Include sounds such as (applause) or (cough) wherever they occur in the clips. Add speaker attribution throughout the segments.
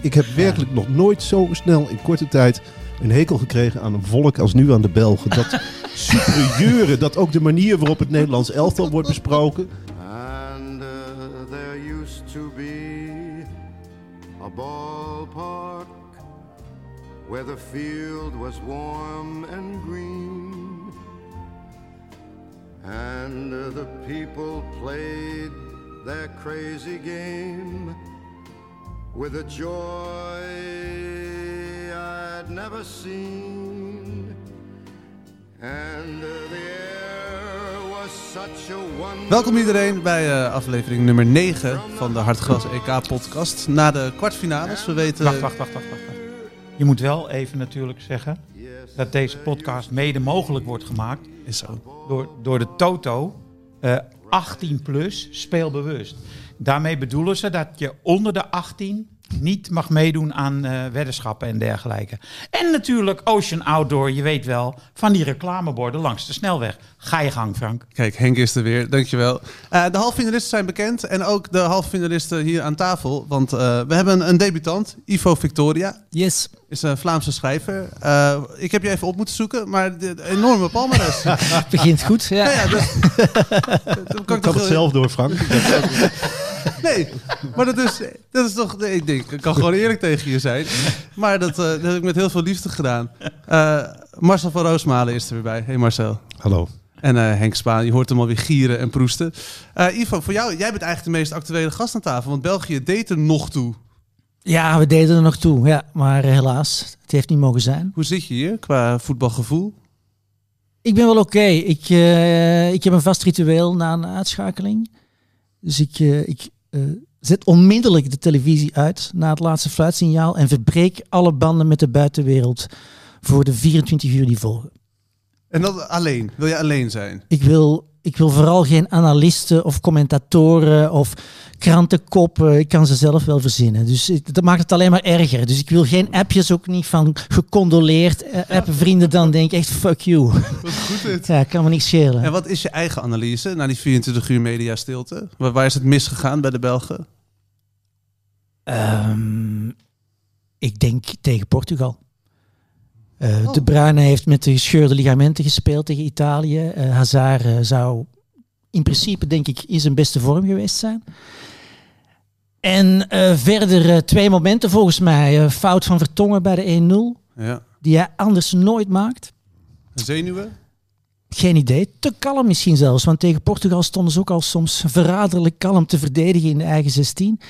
Speaker 1: Ik heb werkelijk nog nooit zo snel in korte tijd een hekel gekregen aan een volk als nu aan de Belgen. Dat superieure, dat ook de manier waarop het Nederlands elftal wordt besproken.
Speaker 2: And uh, there used to be a ballpark where the field was warm and green. And uh, the people played their crazy game with a joy I'd never seen. And uh, the air was such a wonder.
Speaker 3: Welkom iedereen bij eh, aflevering nummer 9 van de Hartgras EK-podcast. Na de kwartfinales, we weten...
Speaker 4: Wacht, wacht, wacht, wacht, wacht. wacht. Je moet wel even natuurlijk zeggen dat deze podcast mede mogelijk wordt gemaakt
Speaker 3: Is zo.
Speaker 4: door, door de Toto eh, 18 plus speelbewust. Daarmee bedoelen ze dat je onder de 18 niet mag meedoen aan eh, weddenschappen en dergelijke. En natuurlijk Ocean Outdoor, je weet wel, van die reclameborden langs de snelweg. Ga je gang, Frank.
Speaker 3: Kijk, Henk is er weer, dankjewel. Eh de halffinalisten zijn bekend en ook de halffinalisten hier aan tafel. Want eh, we hebben een debutant, Ivo Victoria.
Speaker 5: Yes.
Speaker 3: Is een Vlaamse schrijver. Eh, ik heb je even op moeten zoeken, maar de, de enorme palmares.
Speaker 4: (laughs)
Speaker 3: ja,
Speaker 5: Het begint goed. Ja.
Speaker 3: ja, dus, (laughs) dat kan
Speaker 1: Ik kan het zelf door, Frank.
Speaker 3: Nee, maar dat is, dat is toch. nee, ik denk, ik kan gewoon eerlijk tegen je zijn. Maar dat, eh, dat heb ik met heel veel liefde gedaan. Eh, Marcel van Roosmalen is er weer bij. Hey Marcel.
Speaker 1: Hallo.
Speaker 3: En eh, Henk Spaan, je hoort hem alweer gieren en proesten. Eh, Ivo, voor jou, jij bent eigenlijk de meest actuele gast aan tafel. Want België deed er nog toe.
Speaker 5: ja, we deden er nog toe. Ja, maar helaas, het heeft niet mogen zijn.
Speaker 3: Hoe zit je hier qua voetbalgevoel?
Speaker 5: Ik ben wel oké. Ik, eh, ik heb een vast ritueel na een uitschakeling. Dus ik, eh, ik eh, zet onmiddellijk de televisie uit na het laatste fluitsignaal en verbreek alle banden met de buitenwereld voor de 24 uur die volgen.
Speaker 3: En dat alleen. Wil je alleen zijn?
Speaker 5: Ik wil, ik wil vooral geen analisten of commentatoren of krantenkoppen. Ik kan ze zelf wel verzinnen. Dus ik- dat maakt het alleen maar erger. Dus ik wil geen appjes ook niet van gecondoleerd. eh, appen vrienden dan denk ik echt fuck you.
Speaker 3: Wat goed dit.
Speaker 5: (laughs) Ja, kan me niet
Speaker 3: En
Speaker 5: schelen.
Speaker 3: wat is je eigen analyse na die 24 uur media stilte? Waar, waar is het misgegaan bij de Belgen?
Speaker 5: Ehm, ik denk tegen Portugal. Eh, De Bruyne heeft met de gescheurde ligamenten gespeeld tegen Italië. Eh, Hazard eh, zou in principe, denk ik, in zijn beste vorm geweest zijn. En eh, verder eh, twee momenten volgens mij. Eh, fout van Vertongen bij de 1-0,
Speaker 3: Ja.
Speaker 5: die hij anders nooit maakt.
Speaker 3: Zenuwen?
Speaker 5: Geen idee. Te kalm misschien zelfs. Want tegen Portugal stonden ze ook al soms verraderlijk kalm te verdedigen in de eigen 16.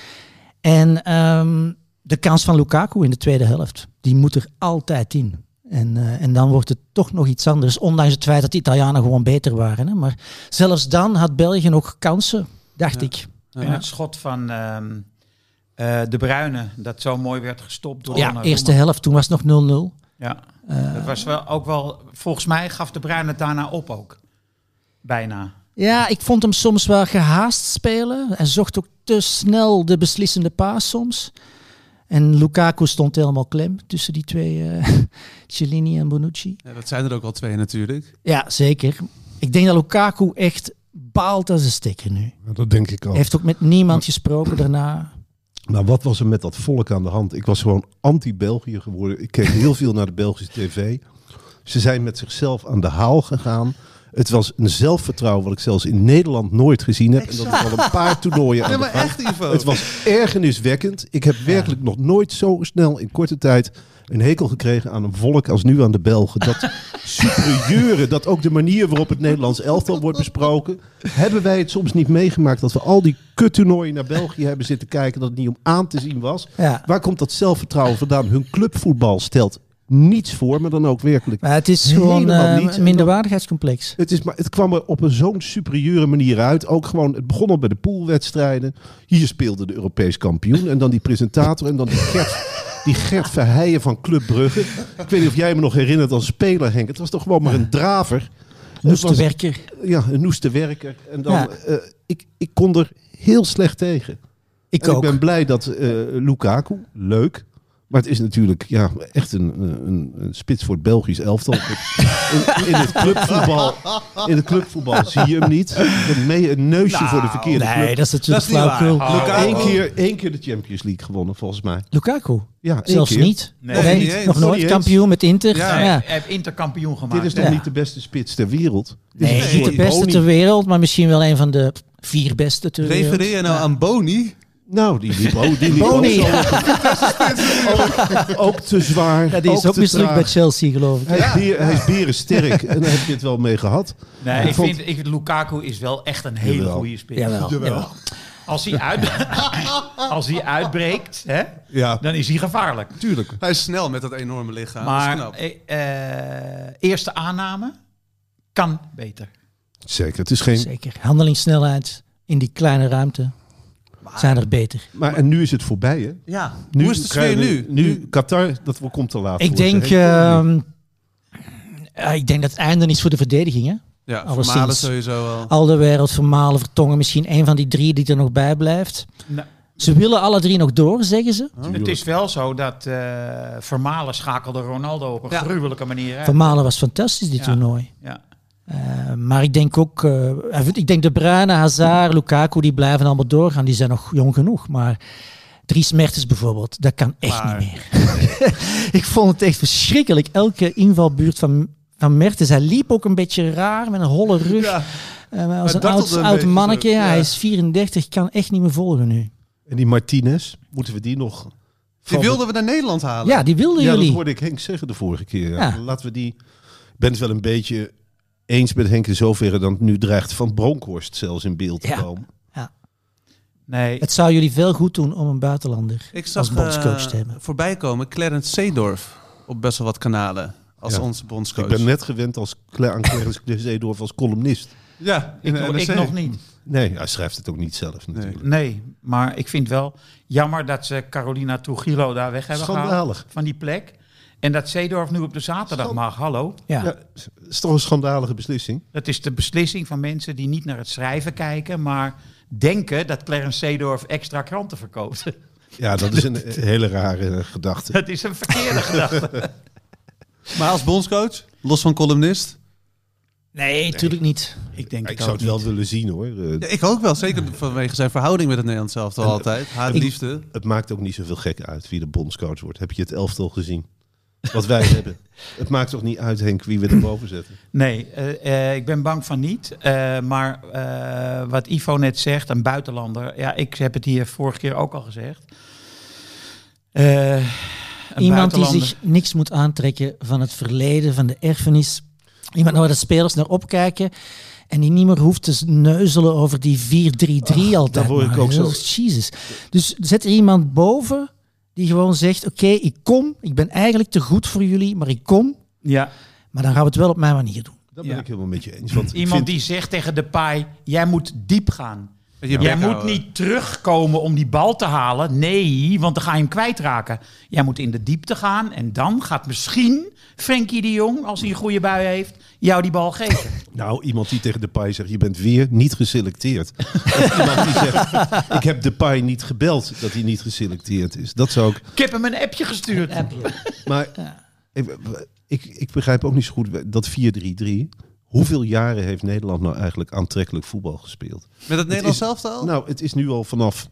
Speaker 5: En ehm, de kans van Lukaku in de tweede helft. Die moet er altijd in. En, eh, en dan wordt het toch nog iets anders. Ondanks het feit dat de Italianen gewoon beter waren. Hè. Maar zelfs dan had België nog kansen, dacht
Speaker 3: Ja.
Speaker 5: ik.
Speaker 4: En het schot van ehm, eh, De Bruyne, dat zo mooi werd gestopt door
Speaker 5: Ja,
Speaker 4: Donnarumma.
Speaker 5: eerste helft. Toen was het nog 0-0.
Speaker 4: Ja.
Speaker 5: Eh,
Speaker 4: Dat was wel ook wel, volgens mij gaf de Bruin het daarna op ook. Bijna.
Speaker 5: Ja, ik vond hem soms wel gehaast spelen. Hij zocht ook te snel de beslissende paas soms. En Lukaku stond helemaal klem tussen die twee, eh, (laughs) Cellini en Bonucci.
Speaker 3: Ja, dat zijn er ook al twee natuurlijk.
Speaker 5: Ja, zeker. Ik denk dat Lukaku echt baalt als een stekker nu. Hij
Speaker 1: Dat denk ik ook.
Speaker 5: heeft ook met niemand gesproken daarna.
Speaker 1: Maar Nou, wat was er met dat volk aan de hand? Ik was gewoon anti-België geworden. Ik keek heel veel naar de Belgische tv. Ze zijn met zichzelf aan de haal gegaan. Het was een zelfvertrouwen wat ik zelfs in Nederland nooit gezien heb. En dat is al een paar toernooien aan
Speaker 3: Ja,
Speaker 1: de
Speaker 3: maar
Speaker 1: gang.
Speaker 3: echt Ivo.
Speaker 1: Het was ergerniswekkend. Ik heb werkelijk nog nooit zo snel in korte tijd een hekel gekregen aan een volk als nu aan de Belgen. Dat superieure, dat ook de manier waarop het Nederlands elftal wordt besproken. Hebben wij het soms niet meegemaakt dat we al die kuttoernooien naar België hebben zitten kijken dat het niet om aan te zien was?
Speaker 5: Ja.
Speaker 1: Waar komt dat zelfvertrouwen vandaan? Hun clubvoetbal stelt niets voor, maar dan ook werkelijk.
Speaker 5: Maar het is gewoon
Speaker 1: Helemaal
Speaker 5: eh,
Speaker 1: niet. En
Speaker 5: een minderwaardigheidscomplex.
Speaker 1: Het, is maar, het kwam er op een zo'n superieure manier uit. Ook gewoon, het begon al bij de poolwedstrijden. Hier speelde de Europees kampioen. En dan die presentator. En dan die Gert, die Gert Verheijen van Club Brugge. Ik weet niet of jij me nog herinnert als speler, Henk. Het was toch gewoon maar een draver.
Speaker 5: Dus
Speaker 1: Het was-
Speaker 5: de werker.
Speaker 1: Ja, een noeste werker. En dan,
Speaker 5: Ja.
Speaker 1: eh, ik, ik kon er heel slecht tegen.
Speaker 5: Ik
Speaker 1: En
Speaker 5: ook.
Speaker 1: ik ben blij dat eh, Lukaku, leuk, Maar het is natuurlijk ja, echt een, een, een spits voor het Belgisch elftal. In, in, het clubvoetbal, in het clubvoetbal zie je hem niet. Dan mee een neusje voor de verkeerde
Speaker 5: Nee,
Speaker 1: club.
Speaker 5: dat is
Speaker 3: Dat
Speaker 5: natuurlijk
Speaker 3: is niet waar.
Speaker 5: flauwkul.
Speaker 4: Oh.
Speaker 3: Lukaku.
Speaker 1: Eén keer, één keer de Champions League gewonnen, volgens mij.
Speaker 5: Lukaku,
Speaker 1: Ja, één
Speaker 5: zelfs
Speaker 1: keer.
Speaker 5: niet.
Speaker 4: Nee,
Speaker 5: Of
Speaker 3: niet
Speaker 5: niet.
Speaker 3: eens.
Speaker 5: Nog
Speaker 1: Niet
Speaker 5: nooit
Speaker 1: eens.
Speaker 5: kampioen met Inter.
Speaker 3: Ja.
Speaker 5: Ja.
Speaker 4: Hij heeft interkampioen gemaakt.
Speaker 1: Dit is toch
Speaker 5: Ja.
Speaker 1: niet de beste spits ter wereld? Dit
Speaker 5: Nee,
Speaker 1: is
Speaker 5: niet Dus
Speaker 1: Boni.
Speaker 5: de beste ter wereld, maar misschien wel een van de vier beste ter wereld.
Speaker 3: Refereer je nou aan Boni?
Speaker 1: Nou, die liep ook, die liep
Speaker 5: Boni.
Speaker 1: ook, zo- ook te zwaar.
Speaker 5: Ja, die is ook
Speaker 1: te
Speaker 5: mislukt
Speaker 1: traag.
Speaker 5: bij Chelsea, geloof ik.
Speaker 1: Hij is, bier, hij is berensterk en daar heb je het wel mee gehad.
Speaker 4: Nee,
Speaker 1: Ik
Speaker 4: ik,
Speaker 1: vond-
Speaker 4: vind, ik, Lukaku is wel echt een hele
Speaker 1: Jawel.
Speaker 4: goede spits.
Speaker 5: Jawel. jawel.
Speaker 4: Als, hij uit, als hij uitbreekt, hè,
Speaker 1: Ja,
Speaker 4: dan is hij gevaarlijk.
Speaker 1: natuurlijk.
Speaker 3: Hij is snel met dat enorme lichaam.
Speaker 4: maar
Speaker 3: dat is knap.
Speaker 4: eh, eh, eerste aanname kan beter.
Speaker 1: Zeker, het is geen...
Speaker 5: Zeker. Handelingssnelheid in die kleine ruimte zijn er beter.
Speaker 1: Maar en nu is het voorbij, hè?
Speaker 3: Ja,
Speaker 1: Nu
Speaker 3: hoe is de sfeer
Speaker 1: krijgen
Speaker 3: nu?
Speaker 1: we- Nu, Qatar, dat wel komt te laat.
Speaker 5: Ik
Speaker 1: voor ze,
Speaker 5: denk,
Speaker 1: hè?
Speaker 5: ehm, eh, ik denk dat het einde is voor de verdediging. Hè?
Speaker 3: Ja,
Speaker 5: Alleszins.
Speaker 3: formalen sowieso al.
Speaker 5: Al de wereld, Vermalen, Vertongen, misschien één van die drie die er nog bij blijft.
Speaker 4: Nou,
Speaker 5: Ze willen alle drie nog door, zeggen ze.
Speaker 4: het is wel zo dat eh, Vermalen schakelde Ronaldo op een
Speaker 3: Ja.
Speaker 4: gruwelijke manier. uit.
Speaker 5: Vermalen was fantastisch dit
Speaker 4: Ja.
Speaker 5: toernooi.
Speaker 4: Ja.
Speaker 5: Eh, maar ik denk ook, eh, ik denk De Bruyne, Hazard, Lukaku, die blijven allemaal doorgaan. Die zijn nog jong genoeg. Maar Dries Mertens bijvoorbeeld, dat kan echt
Speaker 4: Maar-
Speaker 5: niet meer. (laughs) ik vond het echt verschrikkelijk. Elke invalbuurt van, van Mertens, hij liep ook een beetje raar met een holle rug.
Speaker 3: Ja.
Speaker 5: Eh, maar als
Speaker 3: Hij
Speaker 5: een
Speaker 3: dartelde
Speaker 5: oud,
Speaker 3: een
Speaker 5: oud
Speaker 3: beetje
Speaker 5: mannetje,
Speaker 3: zo, ja.
Speaker 5: hij is 34, kan echt niet meer volgen nu.
Speaker 1: En die Martinez, moeten we die nog...
Speaker 3: Die
Speaker 1: van-
Speaker 3: wilden we naar Nederland halen.
Speaker 5: Ja, die wilden
Speaker 1: Ja, dat
Speaker 5: jullie.
Speaker 1: hoorde ik Henk zeggen de vorige keer.
Speaker 5: Ja.
Speaker 1: Laten we die... Ik ben het wel een beetje eens met Henk in zoverre dat nu dreigt Van Bronkhorst zelfs in beeld te
Speaker 5: Ja.
Speaker 1: komen.
Speaker 4: Nee,
Speaker 5: Het zou jullie veel goed doen om een buitenlander
Speaker 3: Ik zag
Speaker 5: als bondscoach
Speaker 3: eh,
Speaker 5: te hebben.
Speaker 3: voorbij komen Clarence Seedorf op best wel wat kanalen als
Speaker 1: Ja.
Speaker 3: onze bondscoach.
Speaker 1: Ik ben net gewend als Cla- aan Clarence Zeedorf als columnist.
Speaker 3: Ja,
Speaker 4: ik,
Speaker 3: in
Speaker 4: nog-
Speaker 3: de
Speaker 4: ik
Speaker 3: NRC.
Speaker 4: nog niet.
Speaker 1: Nee, hij schrijft het ook niet zelf natuurlijk.
Speaker 4: Nee, maar ik vind wel jammer dat ze Carolina Trujillo daar weg hebben
Speaker 1: Schandalig.
Speaker 4: gehaald. Van die plek. En dat Zeedorf nu op de zaterdag
Speaker 1: Schand-
Speaker 4: mag. Hallo.
Speaker 5: Ja.
Speaker 1: Ja, het is toch een schandalige beslissing.
Speaker 4: Dat is de beslissing van mensen die niet naar het schrijven kijken, maar denken dat Clarence Zeedorf extra kranten verkoopt. (laughs)
Speaker 1: Ja, dat is een hele rare eh, gedachte.
Speaker 4: Dat is een verkeerde gedachte.
Speaker 3: Maar als bondscoach, los van columnist.
Speaker 5: Nee, natuurlijk niet.
Speaker 4: Ik denk
Speaker 1: Ik zou het wel willen zien hoor. Eh,
Speaker 3: Ja, ik ook wel, zeker vanwege zijn verhouding met het Nederlands zelf altijd. Haar liefde.
Speaker 1: Het maakt ook niet zoveel gek uit wie de bondscoach wordt. Heb je het elftal gezien? Wat wij (laughs) hebben. Het maakt toch niet uit, Henk, wie we erboven zetten.
Speaker 4: Nee, eh, eh, ik ben bang van niet. Eh, maar eh, wat Ivo net zegt, een buitenlander. Ja, ik heb het hier vorige keer ook al gezegd. Eh, een
Speaker 5: Iemand die
Speaker 4: buitenlander-
Speaker 5: zich niks moet aantrekken van het verleden, van de erfenis. Iemand waar de spelers naar opkijken. En die niet meer hoeft te neuzelen over die 4-3-3 altijd.
Speaker 1: daar word ik
Speaker 5: maar.
Speaker 1: ook zo-
Speaker 5: Jezus. Dus zet er iemand boven die gewoon zegt... Oké, ik kom. Ik ben eigenlijk te goed voor jullie, maar ik kom.
Speaker 4: Ja,
Speaker 5: Maar dan gaan we het wel op mijn manier doen.
Speaker 1: Dat ben
Speaker 4: Ja.
Speaker 1: ik helemaal met je eens. Want ik
Speaker 4: Iemand
Speaker 1: vind-
Speaker 4: die zegt tegen de paai: jij moet diep gaan.
Speaker 3: Je
Speaker 4: jij
Speaker 3: bek
Speaker 4: moet
Speaker 3: houden.
Speaker 4: niet terugkomen om die bal te halen. Nee, want dan ga je hem kwijtraken. Jij moet in de diepte gaan en dan gaat misschien Frenkie de Jong, als hij een goede bui heeft, jou die bal geven.
Speaker 1: Nou, iemand die tegen de paai zegt, je bent weer niet geselecteerd. (laughs) Of iemand die zegt, ik heb de paai niet gebeld dat hij niet geselecteerd is. Dat zou ik...
Speaker 4: Ik heb hem een appje gestuurd.
Speaker 1: Maar ik, ik, ik begrijp ook niet zo goed dat 4-3-3... Hoeveel jaren heeft Nederland nou eigenlijk aantrekkelijk voetbal gespeeld?
Speaker 3: Met het Nederlands
Speaker 1: is-
Speaker 3: zelf
Speaker 5: Oh.
Speaker 3: al? Nou,
Speaker 1: Nou, het is nu al vanaf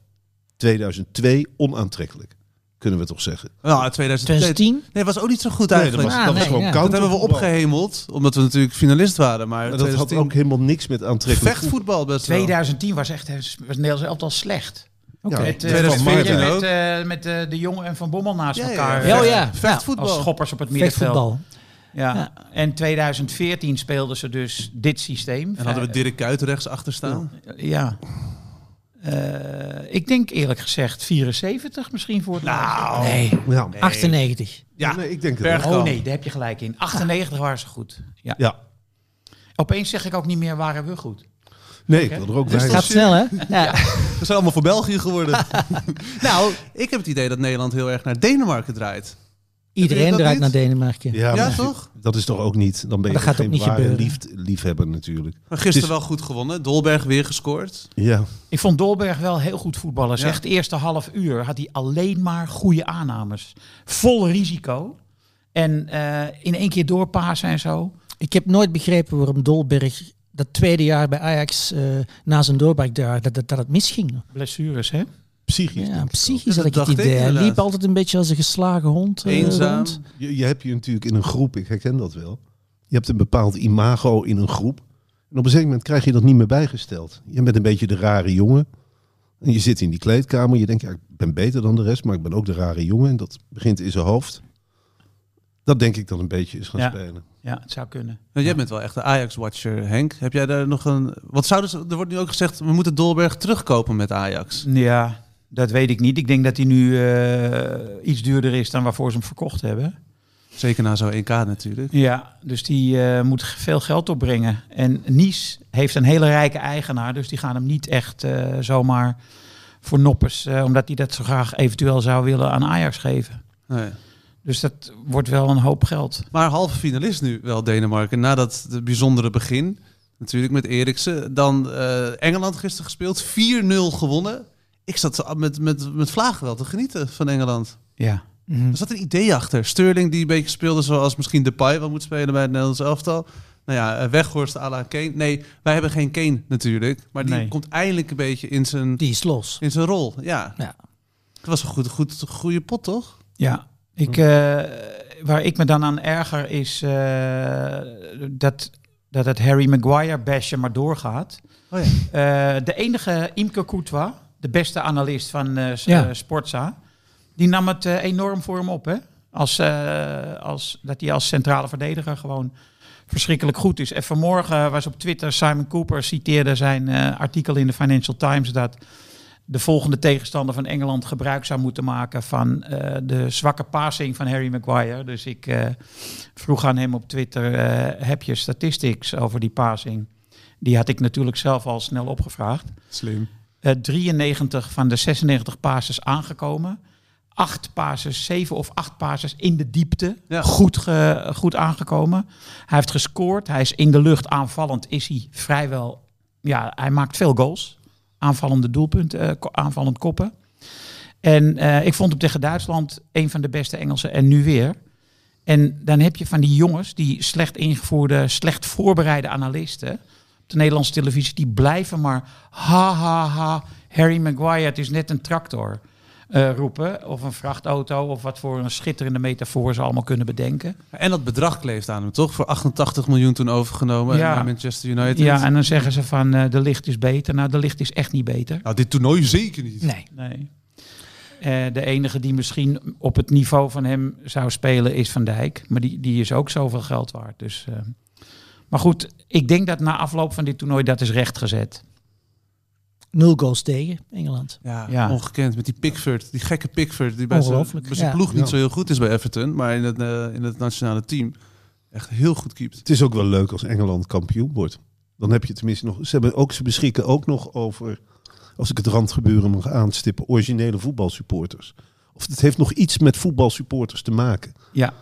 Speaker 1: 2002 onaantrekkelijk. Kunnen we toch zeggen?
Speaker 3: 2010.
Speaker 5: 2010?
Speaker 3: Nou, Nee, was ook niet zo goed
Speaker 1: Nee, dat
Speaker 3: eigenlijk.
Speaker 1: was,
Speaker 5: Ah,
Speaker 1: dat was
Speaker 5: nee,
Speaker 1: gewoon
Speaker 5: ja.
Speaker 1: koud.
Speaker 3: dat hebben we opgehemeld, omdat we natuurlijk finalist waren. Maar
Speaker 1: Maar dat had ook helemaal niks met aantrekkelijk voetbal.
Speaker 3: vechtvoetbal best wel.
Speaker 4: 2010 was echt was Nederlands elftal slecht.
Speaker 5: Oké.
Speaker 1: Ja.
Speaker 4: Met, eh,
Speaker 3: 2014
Speaker 4: met,
Speaker 3: ook.
Speaker 4: eh, met eh, de jongen en Van Bommel naast
Speaker 3: Ja, Nou, ja,
Speaker 4: elkaar.
Speaker 5: ja.
Speaker 4: eh,
Speaker 5: Oh ja.
Speaker 3: Vechtvoetbal.
Speaker 4: Als schoppers op het middenveld.
Speaker 5: Vechtvoetbal.
Speaker 4: Ja.
Speaker 5: Ja.
Speaker 4: En 2014 speelden ze dus dit systeem.
Speaker 3: En hadden we Dirk Kuyt rechts achter staan.
Speaker 4: Ja. Eh, ik denk eerlijk gezegd 74 misschien voor het laatst.
Speaker 5: Nee,
Speaker 1: Ja,
Speaker 5: 98.
Speaker 1: ja. Nee, ik denk het
Speaker 3: Berg-
Speaker 1: wel.
Speaker 4: Oh nee, daar heb je gelijk in. 98 waren ze goed. Ja.
Speaker 1: Ja.
Speaker 4: Opeens zeg ik ook niet meer waren we goed.
Speaker 1: Nee, ik wil er ook bij.
Speaker 5: Gaat snel, hè? Ja.
Speaker 3: We zijn allemaal voor België geworden. nou, ik heb het idee dat Nederland heel erg naar Denemarken draait.
Speaker 5: Iedereen
Speaker 3: dat
Speaker 5: draait
Speaker 3: niet?
Speaker 5: naar Denemarken.
Speaker 3: Ja,
Speaker 1: maar
Speaker 3: toch?
Speaker 1: Dat is toch ook niet. Dan ben je
Speaker 5: dat gaat
Speaker 1: geen
Speaker 5: ook niet
Speaker 1: ware
Speaker 5: gebeuren.
Speaker 1: lief- liefhebber natuurlijk.
Speaker 3: Maar gisteren
Speaker 1: Het
Speaker 3: wel goed gewonnen. Dolberg weer gescoord.
Speaker 1: Ja.
Speaker 4: Ik vond Dolberg wel heel goed voetballen.
Speaker 3: Ja.
Speaker 4: Zeg, het eerste half uur had hij alleen maar goede aannames. Vol risico. En eh, in één keer doorpassen en zo.
Speaker 5: Ik heb nooit begrepen waarom Dolberg dat tweede jaar bij Ajax eh, na zijn doorbraakjaar dat, dat, dat het misging.
Speaker 4: Blessures, hè?
Speaker 1: Psychisch.
Speaker 5: Ja,
Speaker 1: denk ik
Speaker 5: psychisch
Speaker 3: dat
Speaker 5: had ik het
Speaker 3: dacht ik
Speaker 5: idee. Hij
Speaker 3: inderdaad.
Speaker 5: liep altijd een beetje als een geslagen hond. eh,
Speaker 3: Eenzaam.
Speaker 5: rond.
Speaker 1: ook. Je, je hebt je natuurlijk in een groep, ik herken dat wel. Je hebt een bepaald imago in een groep. En op een gegeven moment krijg je dat niet meer bijgesteld. Je bent een beetje de rare jongen. En je zit in die kleedkamer. Je denkt, ja, ik ben beter dan de rest, maar ik ben ook de rare jongen. En dat begint in zijn hoofd. Dat denk ik dan een beetje is gaan
Speaker 4: Ja.
Speaker 1: spelen.
Speaker 4: Ja, het zou kunnen.
Speaker 3: Nou, jij bent wel echt de Ajax-watcher, Henk. Heb jij daar nog een... Wat zouden ze... Er wordt nu ook gezegd, we moeten Dolberg terugkopen met Ajax.
Speaker 4: Ja, dat weet ik niet. Ik denk dat hij nu eh, iets duurder is dan waarvoor ze hem verkocht hebben.
Speaker 3: Zeker na zo'n EK natuurlijk.
Speaker 4: Ja, dus die eh, moet veel geld opbrengen. En Nice heeft een hele rijke eigenaar. Dus die gaan hem niet echt eh, zomaar voor noppers. eh, omdat hij dat zo graag eventueel zou willen aan Ajax geven.
Speaker 3: Nee.
Speaker 4: Dus dat wordt wel een hoop geld.
Speaker 3: Maar halve finalist nu wel Denemarken. Na dat de bijzondere begin, natuurlijk met Eriksen. Dan eh, Engeland gisteren gespeeld, 4-0 gewonnen. Ik zat met, met, met vlagen wel te genieten van Engeland.
Speaker 4: Ja.
Speaker 5: Mhm.
Speaker 3: Er zat een idee achter. Sterling die een beetje speelde zoals misschien Depay wel moet spelen bij het Nederlands elftal. Nou ja, eh, Weghorst à la Kane. Nee, wij hebben geen Kane natuurlijk. Maar die
Speaker 4: Nee.
Speaker 3: komt eindelijk een beetje in zijn,
Speaker 5: Die is los.
Speaker 3: in zijn rol. Ja.
Speaker 5: Ja.
Speaker 3: Het was een goed, goed, goede pot, toch?
Speaker 4: Ja, ik,
Speaker 3: Hm.
Speaker 4: eh, waar ik me dan aan erger is eh, dat, dat het Harry Maguire basje maar doorgaat.
Speaker 3: Oh ja.
Speaker 4: Eh, de enige Imke Courtois, de beste analist van eh S-
Speaker 5: Ja.
Speaker 4: eh, Sportza, die nam het eh, enorm voor hem op. Hè? Als, eh, als, dat hij als centrale verdediger gewoon verschrikkelijk goed is. En vanmorgen was op Twitter Simon Cooper citeerde zijn eh, artikel in de Financial Times dat de volgende tegenstander van Engeland gebruik zou moeten maken van eh, de zwakke passing van Harry Maguire. Dus ik eh, vroeg aan hem op Twitter, eh, heb je statistics over die passing? Die had ik natuurlijk zelf al snel opgevraagd.
Speaker 3: Slim.
Speaker 4: Eh, 93 van de 96 passes aangekomen. Acht passes, zeven of acht passes in de diepte.
Speaker 3: Ja.
Speaker 4: Goed, ge- goed aangekomen. Hij heeft gescoord. Hij is in de lucht aanvallend. Is hij vrijwel... Ja, hij maakt veel goals. Aanvallende doelpunten, eh, ko- aanvallend koppen. En eh, ik vond hem tegen Duitsland een van de beste Engelsen. En nu weer. En dan heb je van die jongens, die slecht ingevoerde, slecht voorbereide analisten op de Nederlandse televisie, die blijven maar ha ha ha, Harry Maguire, het is net een tractor eh, roepen. Of een vrachtauto, of wat voor een schitterende metafoor ze allemaal kunnen bedenken.
Speaker 3: En dat bedrag kleeft aan hem, toch? Voor 88 miljoen toen overgenomen
Speaker 4: Ja.
Speaker 3: naar Manchester United.
Speaker 4: Ja, en dan zeggen ze van eh, de licht is beter. Nou, de licht is echt niet beter.
Speaker 3: Nou, dit toernooi zeker niet.
Speaker 5: Nee.
Speaker 4: Nee. Eh, de enige die misschien op het niveau van hem zou spelen is Van Dijk. Maar die, die is ook zoveel geld waard. Dus, eh. Maar goed, ik denk dat na afloop van dit toernooi dat is rechtgezet.
Speaker 5: Nul goals tegen Engeland.
Speaker 3: Ja,
Speaker 4: Ja.
Speaker 3: ongekend. Met die Pickford, die gekke Pickford, die bij zijn,
Speaker 5: Ongelooflijk,
Speaker 3: bij zijn
Speaker 5: ja.
Speaker 3: ploeg niet
Speaker 1: Ja.
Speaker 3: zo heel goed is bij Everton, maar in het, eh, in het nationale team echt heel goed keept.
Speaker 1: Het is ook wel leuk als Engeland kampioen wordt. Dan heb je tenminste nog. Ze, hebben ook, ze beschikken ook nog over, als ik het randgebeuren mag aanstippen, originele voetbalsupporters. Of het heeft nog iets met voetbalsupporters te maken.
Speaker 4: Ja.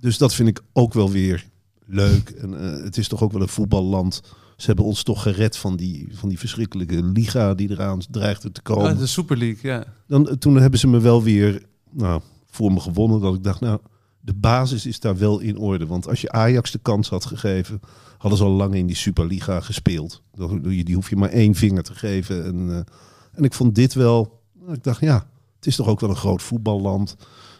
Speaker 1: Dus dat vind ik ook wel weer leuk. En, eh, het is toch ook wel een voetballand. Ze hebben ons toch gered van die, van die verschrikkelijke liga die eraan dreigde te
Speaker 3: Ja,
Speaker 1: komen.
Speaker 3: Ah, de Super League, ja.
Speaker 1: Dan, eh, toen hebben ze me wel weer nou, voor me gewonnen. Dat ik dacht, nou, de basis is daar wel in orde. Want als je Ajax de kans had gegeven, hadden ze al lang in die Superliga gespeeld. Dat, die hoef je maar één vinger te geven. En, eh, en ik vond dit wel, nou, ik dacht, ja, het is toch ook wel een groot voetballand.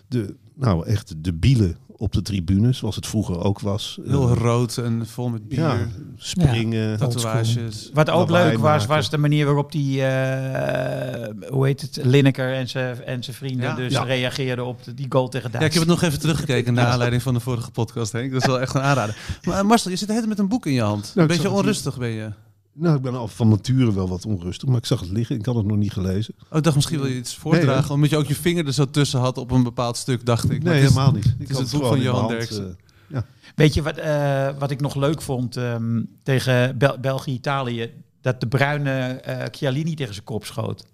Speaker 1: De, nou, echt de bielen op de tribune, zoals het vroeger ook was.
Speaker 3: Heel
Speaker 1: Eh,
Speaker 3: rood en vol met bier,
Speaker 1: ja, springen.
Speaker 3: tatoeages.
Speaker 4: Wat ook
Speaker 1: Lawaai
Speaker 4: leuk was,
Speaker 1: maken.
Speaker 4: was de manier waarop die, eh, hoe heet het, Lineker en zijn en zijn vrienden
Speaker 3: Ja.
Speaker 4: dus
Speaker 1: Ja.
Speaker 4: reageerden op de- die goal tegen
Speaker 3: Ja, ik heb
Speaker 4: Duitsland.
Speaker 3: het nog even teruggekeken naar aanleiding van de vorige podcast, Henk. Dat is wel echt een aanrader. Maar eh, Marcel, je zit de hele tijd met een boek in je hand.
Speaker 1: ik
Speaker 3: een
Speaker 1: zag
Speaker 3: beetje
Speaker 1: het hier.
Speaker 3: onrustig ben je.
Speaker 1: Nou, ik ben al van nature wel wat onrustig, maar ik zag het liggen. Ik had het nog niet gelezen.
Speaker 3: Oh, ik dacht misschien wil je iets voordragen,
Speaker 1: Nee,
Speaker 3: omdat je ook je vinger er zo tussen had op een bepaald stuk, dacht ik. Maar
Speaker 1: Nee,
Speaker 3: het is-
Speaker 1: helemaal niet. Ik
Speaker 3: is
Speaker 1: had
Speaker 3: het boek
Speaker 1: gewoon
Speaker 3: van
Speaker 1: in mijn
Speaker 3: Johan
Speaker 1: hand,
Speaker 3: Derksen.
Speaker 1: eh,
Speaker 4: Weet je wat, eh, wat ik nog leuk vond ehm, tegen Bel- België-Italië? Dat de bruine eh Chialini tegen zijn kop schoot.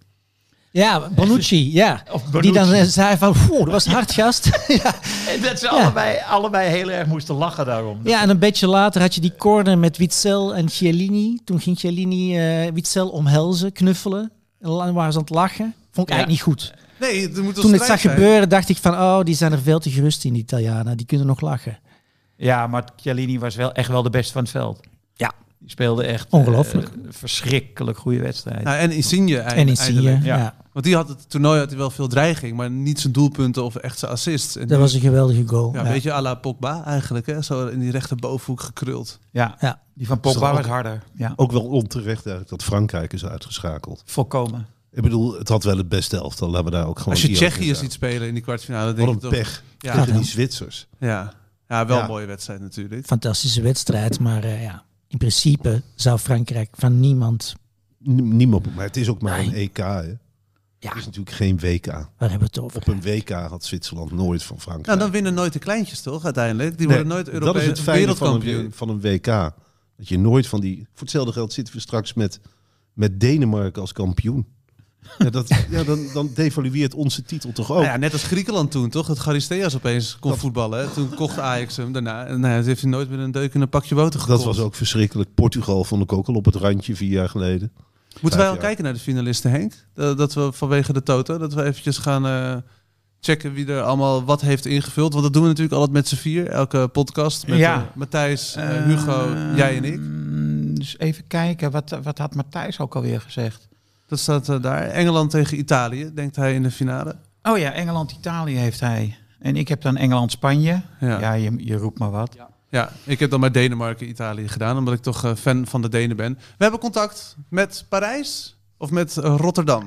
Speaker 5: Ja, Bonucci, ja.
Speaker 4: Of Bonucci.
Speaker 5: Die (laughs) dan eh, zei van, "Oeh, dat was een hard gast. ja.
Speaker 4: En dat ze allebei, allebei heel erg moesten lachen daarom.
Speaker 5: ja, en een beetje later had je die corner met Witzel en Chiellini. Toen ging Chiellini eh, Witzel omhelzen, knuffelen. En dan waren ze aan het lachen. Vond ik
Speaker 4: Ja.
Speaker 5: eigenlijk niet goed.
Speaker 3: Nee, er moet een
Speaker 5: Toen het
Speaker 3: strijd
Speaker 5: zag
Speaker 3: zijn.
Speaker 5: gebeuren, dacht ik van, oh, die zijn er veel te gerust in, die Italianen. Die kunnen nog lachen.
Speaker 4: Ja, maar Chiellini was wel echt wel de beste van het veld.
Speaker 5: Ja.
Speaker 4: Die speelde echt
Speaker 5: Ongelooflijk.
Speaker 4: eh, een verschrikkelijk goede wedstrijd.
Speaker 3: Nou, en Insigne
Speaker 5: En
Speaker 3: eigenlijk.
Speaker 5: Insigne, ja.
Speaker 4: Ja.
Speaker 3: Want die had het toernooi had hij wel veel dreiging, maar niet zijn doelpunten of echt zijn assists. En
Speaker 5: Dat was een geweldige goal.
Speaker 3: ja,
Speaker 5: Ja,
Speaker 3: een beetje à la Pogba eigenlijk, hè? zo in die rechterbovenhoek gekruld.
Speaker 4: ja.
Speaker 5: Ja.
Speaker 4: die van
Speaker 1: Is dat
Speaker 4: Pogba
Speaker 1: ook-
Speaker 4: was harder. Ja,
Speaker 1: Ook wel onterecht eigenlijk dat Frankrijk is uitgeschakeld.
Speaker 4: volkomen.
Speaker 1: Ik bedoel, het had wel het beste elftal. Laten we daar ook gewoon
Speaker 3: Als je
Speaker 1: eerlijk
Speaker 3: Tsjechië
Speaker 1: in
Speaker 3: ziet
Speaker 1: zijn.
Speaker 3: spelen in die kwartfinale, denk
Speaker 1: Wat
Speaker 3: ik
Speaker 1: een
Speaker 3: toch...
Speaker 1: pech
Speaker 3: Ja,
Speaker 1: tegen
Speaker 5: Ja.
Speaker 1: die Zwitsers.
Speaker 3: ja. ja, wel
Speaker 1: Ja.
Speaker 3: een mooie wedstrijd natuurlijk.
Speaker 5: Fantastische wedstrijd, maar eh, ja, in principe zou Frankrijk van niemand...
Speaker 1: N- niemand. Maar het is ook maar
Speaker 5: Nee.
Speaker 1: een EK. Hè.
Speaker 5: Ja,
Speaker 1: Het is natuurlijk geen WK.
Speaker 5: waar hebben we het over?
Speaker 1: Op een WK had Zwitserland nooit van
Speaker 3: Nou,
Speaker 1: Frankrijk.
Speaker 3: dan winnen nooit de kleintjes toch uiteindelijk?
Speaker 1: Nee,
Speaker 3: Die worden nooit
Speaker 1: dat is
Speaker 3: Europees
Speaker 1: het fijne van
Speaker 3: wereldkampioen.
Speaker 1: een, van een WK. Dat je nooit van die... Voor hetzelfde geld zitten we straks met, met Denemarken als kampioen. Ja, dat, ja, dan, dan devalueert onze titel toch ook.
Speaker 3: Nou ja, net als Griekenland toen, toch? Het Charisteas opeens kon voetballen. hè? Toen kocht Ajax hem daarna. En nou, ja, dus heeft hij nooit meer een deuk in een pakje boter gekocht.
Speaker 1: Dat was ook verschrikkelijk. Portugal vond ik ook al op het randje vier jaar geleden.
Speaker 3: Moeten wij al
Speaker 1: vijf jaar.
Speaker 3: kijken naar de finalisten, Henk? Dat, dat we vanwege de toto, dat we eventjes gaan eh, checken wie er allemaal wat heeft ingevuld. Want dat doen we natuurlijk altijd met z'n vier, elke podcast. Met
Speaker 4: Ja.
Speaker 3: eh, Matthijs, eh, Hugo, jij en ik.
Speaker 4: Ehm, Dus even kijken, wat, wat had Matthijs ook alweer gezegd?
Speaker 3: Dat staat eh, daar. Engeland tegen Italië, denkt hij in de finale.
Speaker 4: Oh ja, Engeland-Italië heeft hij. En ik heb dan Engeland-Spanje.
Speaker 3: Ja.
Speaker 4: Ja, je, je roept maar wat.
Speaker 3: Ja, ik heb dan maar Denemarken, Italië gedaan, omdat ik toch eh, fan van de Denen ben. We hebben contact met Parijs of met eh, Rotterdam.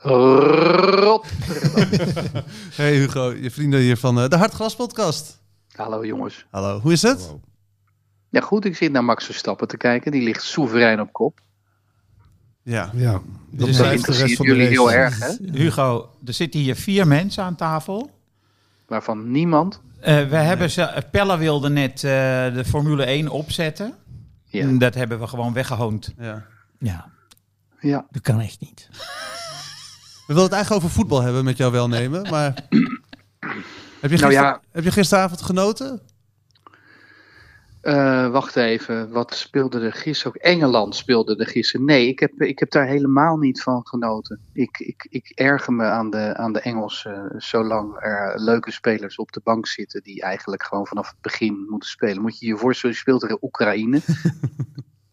Speaker 6: Rot.
Speaker 3: Hey Hugo, je vrienden hier van eh, de Hartgras podcast.
Speaker 6: Hallo jongens.
Speaker 3: Hallo, hoe is het?
Speaker 6: Ja goed, ik zit naar Max Verstappen te kijken. Die ligt soeverein op kop.
Speaker 3: Ja.
Speaker 1: Ja, dat
Speaker 4: Dus
Speaker 1: blijft
Speaker 6: Dat
Speaker 1: de rest
Speaker 6: interesseert
Speaker 1: van de
Speaker 6: jullie
Speaker 1: race.
Speaker 6: heel erg, hè?
Speaker 4: Hugo, er zitten hier vier mensen aan tafel.
Speaker 6: Waarvan niemand.
Speaker 4: Eh, we hebben ze, Pelle wilde net eh, de Formule 1 opzetten.
Speaker 6: Ja.
Speaker 4: En dat hebben we gewoon weggehoond.
Speaker 3: ja.
Speaker 5: Ja,
Speaker 6: ja.
Speaker 5: dat kan echt niet.
Speaker 3: We wilden het eigenlijk over voetbal hebben met jouw welnemen,
Speaker 6: (laughs)
Speaker 3: maar... heb, je
Speaker 6: Nou
Speaker 3: gister-
Speaker 6: ja.
Speaker 3: heb je gisteravond genoten?
Speaker 6: Eh, wacht even, wat speelde er gisteren ook? Engeland speelde er gisteren. Nee, ik heb, ik heb daar helemaal niet van genoten. Ik, ik, ik erger me aan de, aan de Engelsen eh, zolang er leuke spelers op de bank zitten die eigenlijk gewoon vanaf het begin moeten spelen. Moet je je voorstellen, je speelt tegen Oekraïne.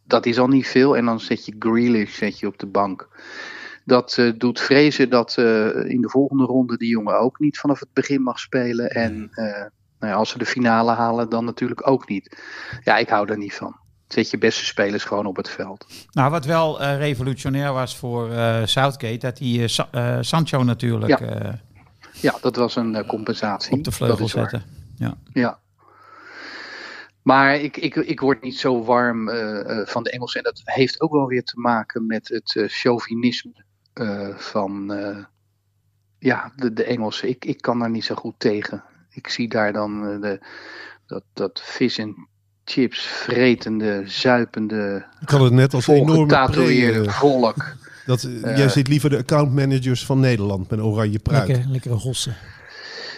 Speaker 6: dat is al niet veel en dan zet je Grealish zet je op de bank. Dat eh, doet vrezen dat eh, in de volgende ronde die jongen ook niet vanaf het begin mag spelen. En eh, nou ja, als ze de finale halen, dan natuurlijk ook niet. Ja, ik hou daar niet van. Zet je beste spelers gewoon op het veld.
Speaker 4: Nou, wat wel eh, revolutionair was voor eh, Southgate, dat hij eh, Sa- eh, Sancho natuurlijk
Speaker 6: Ja.
Speaker 4: eh,
Speaker 6: Ja, dat was een eh, compensatie.
Speaker 4: op de vleugel
Speaker 6: Dat is waar.
Speaker 4: zette.
Speaker 6: Ja. Maar ik, ik, ik word niet zo warm eh, eh, van de Engelsen. En dat heeft ook wel weer te maken met het eh, chauvinisme eh, van eh, ja, de, de Engelsen. Ik, ik kan daar niet zo goed tegen. Ik zie daar dan eh, de, dat, dat vis en chips vretende, zuipende,
Speaker 1: Ik kan het net als een enorme pre...
Speaker 6: volgetatoeëerde
Speaker 1: eh,
Speaker 6: volk.
Speaker 1: dat, jij zit liever de accountmanagers van Nederland met oranje pruik.
Speaker 5: Lekker, lekkere hossen.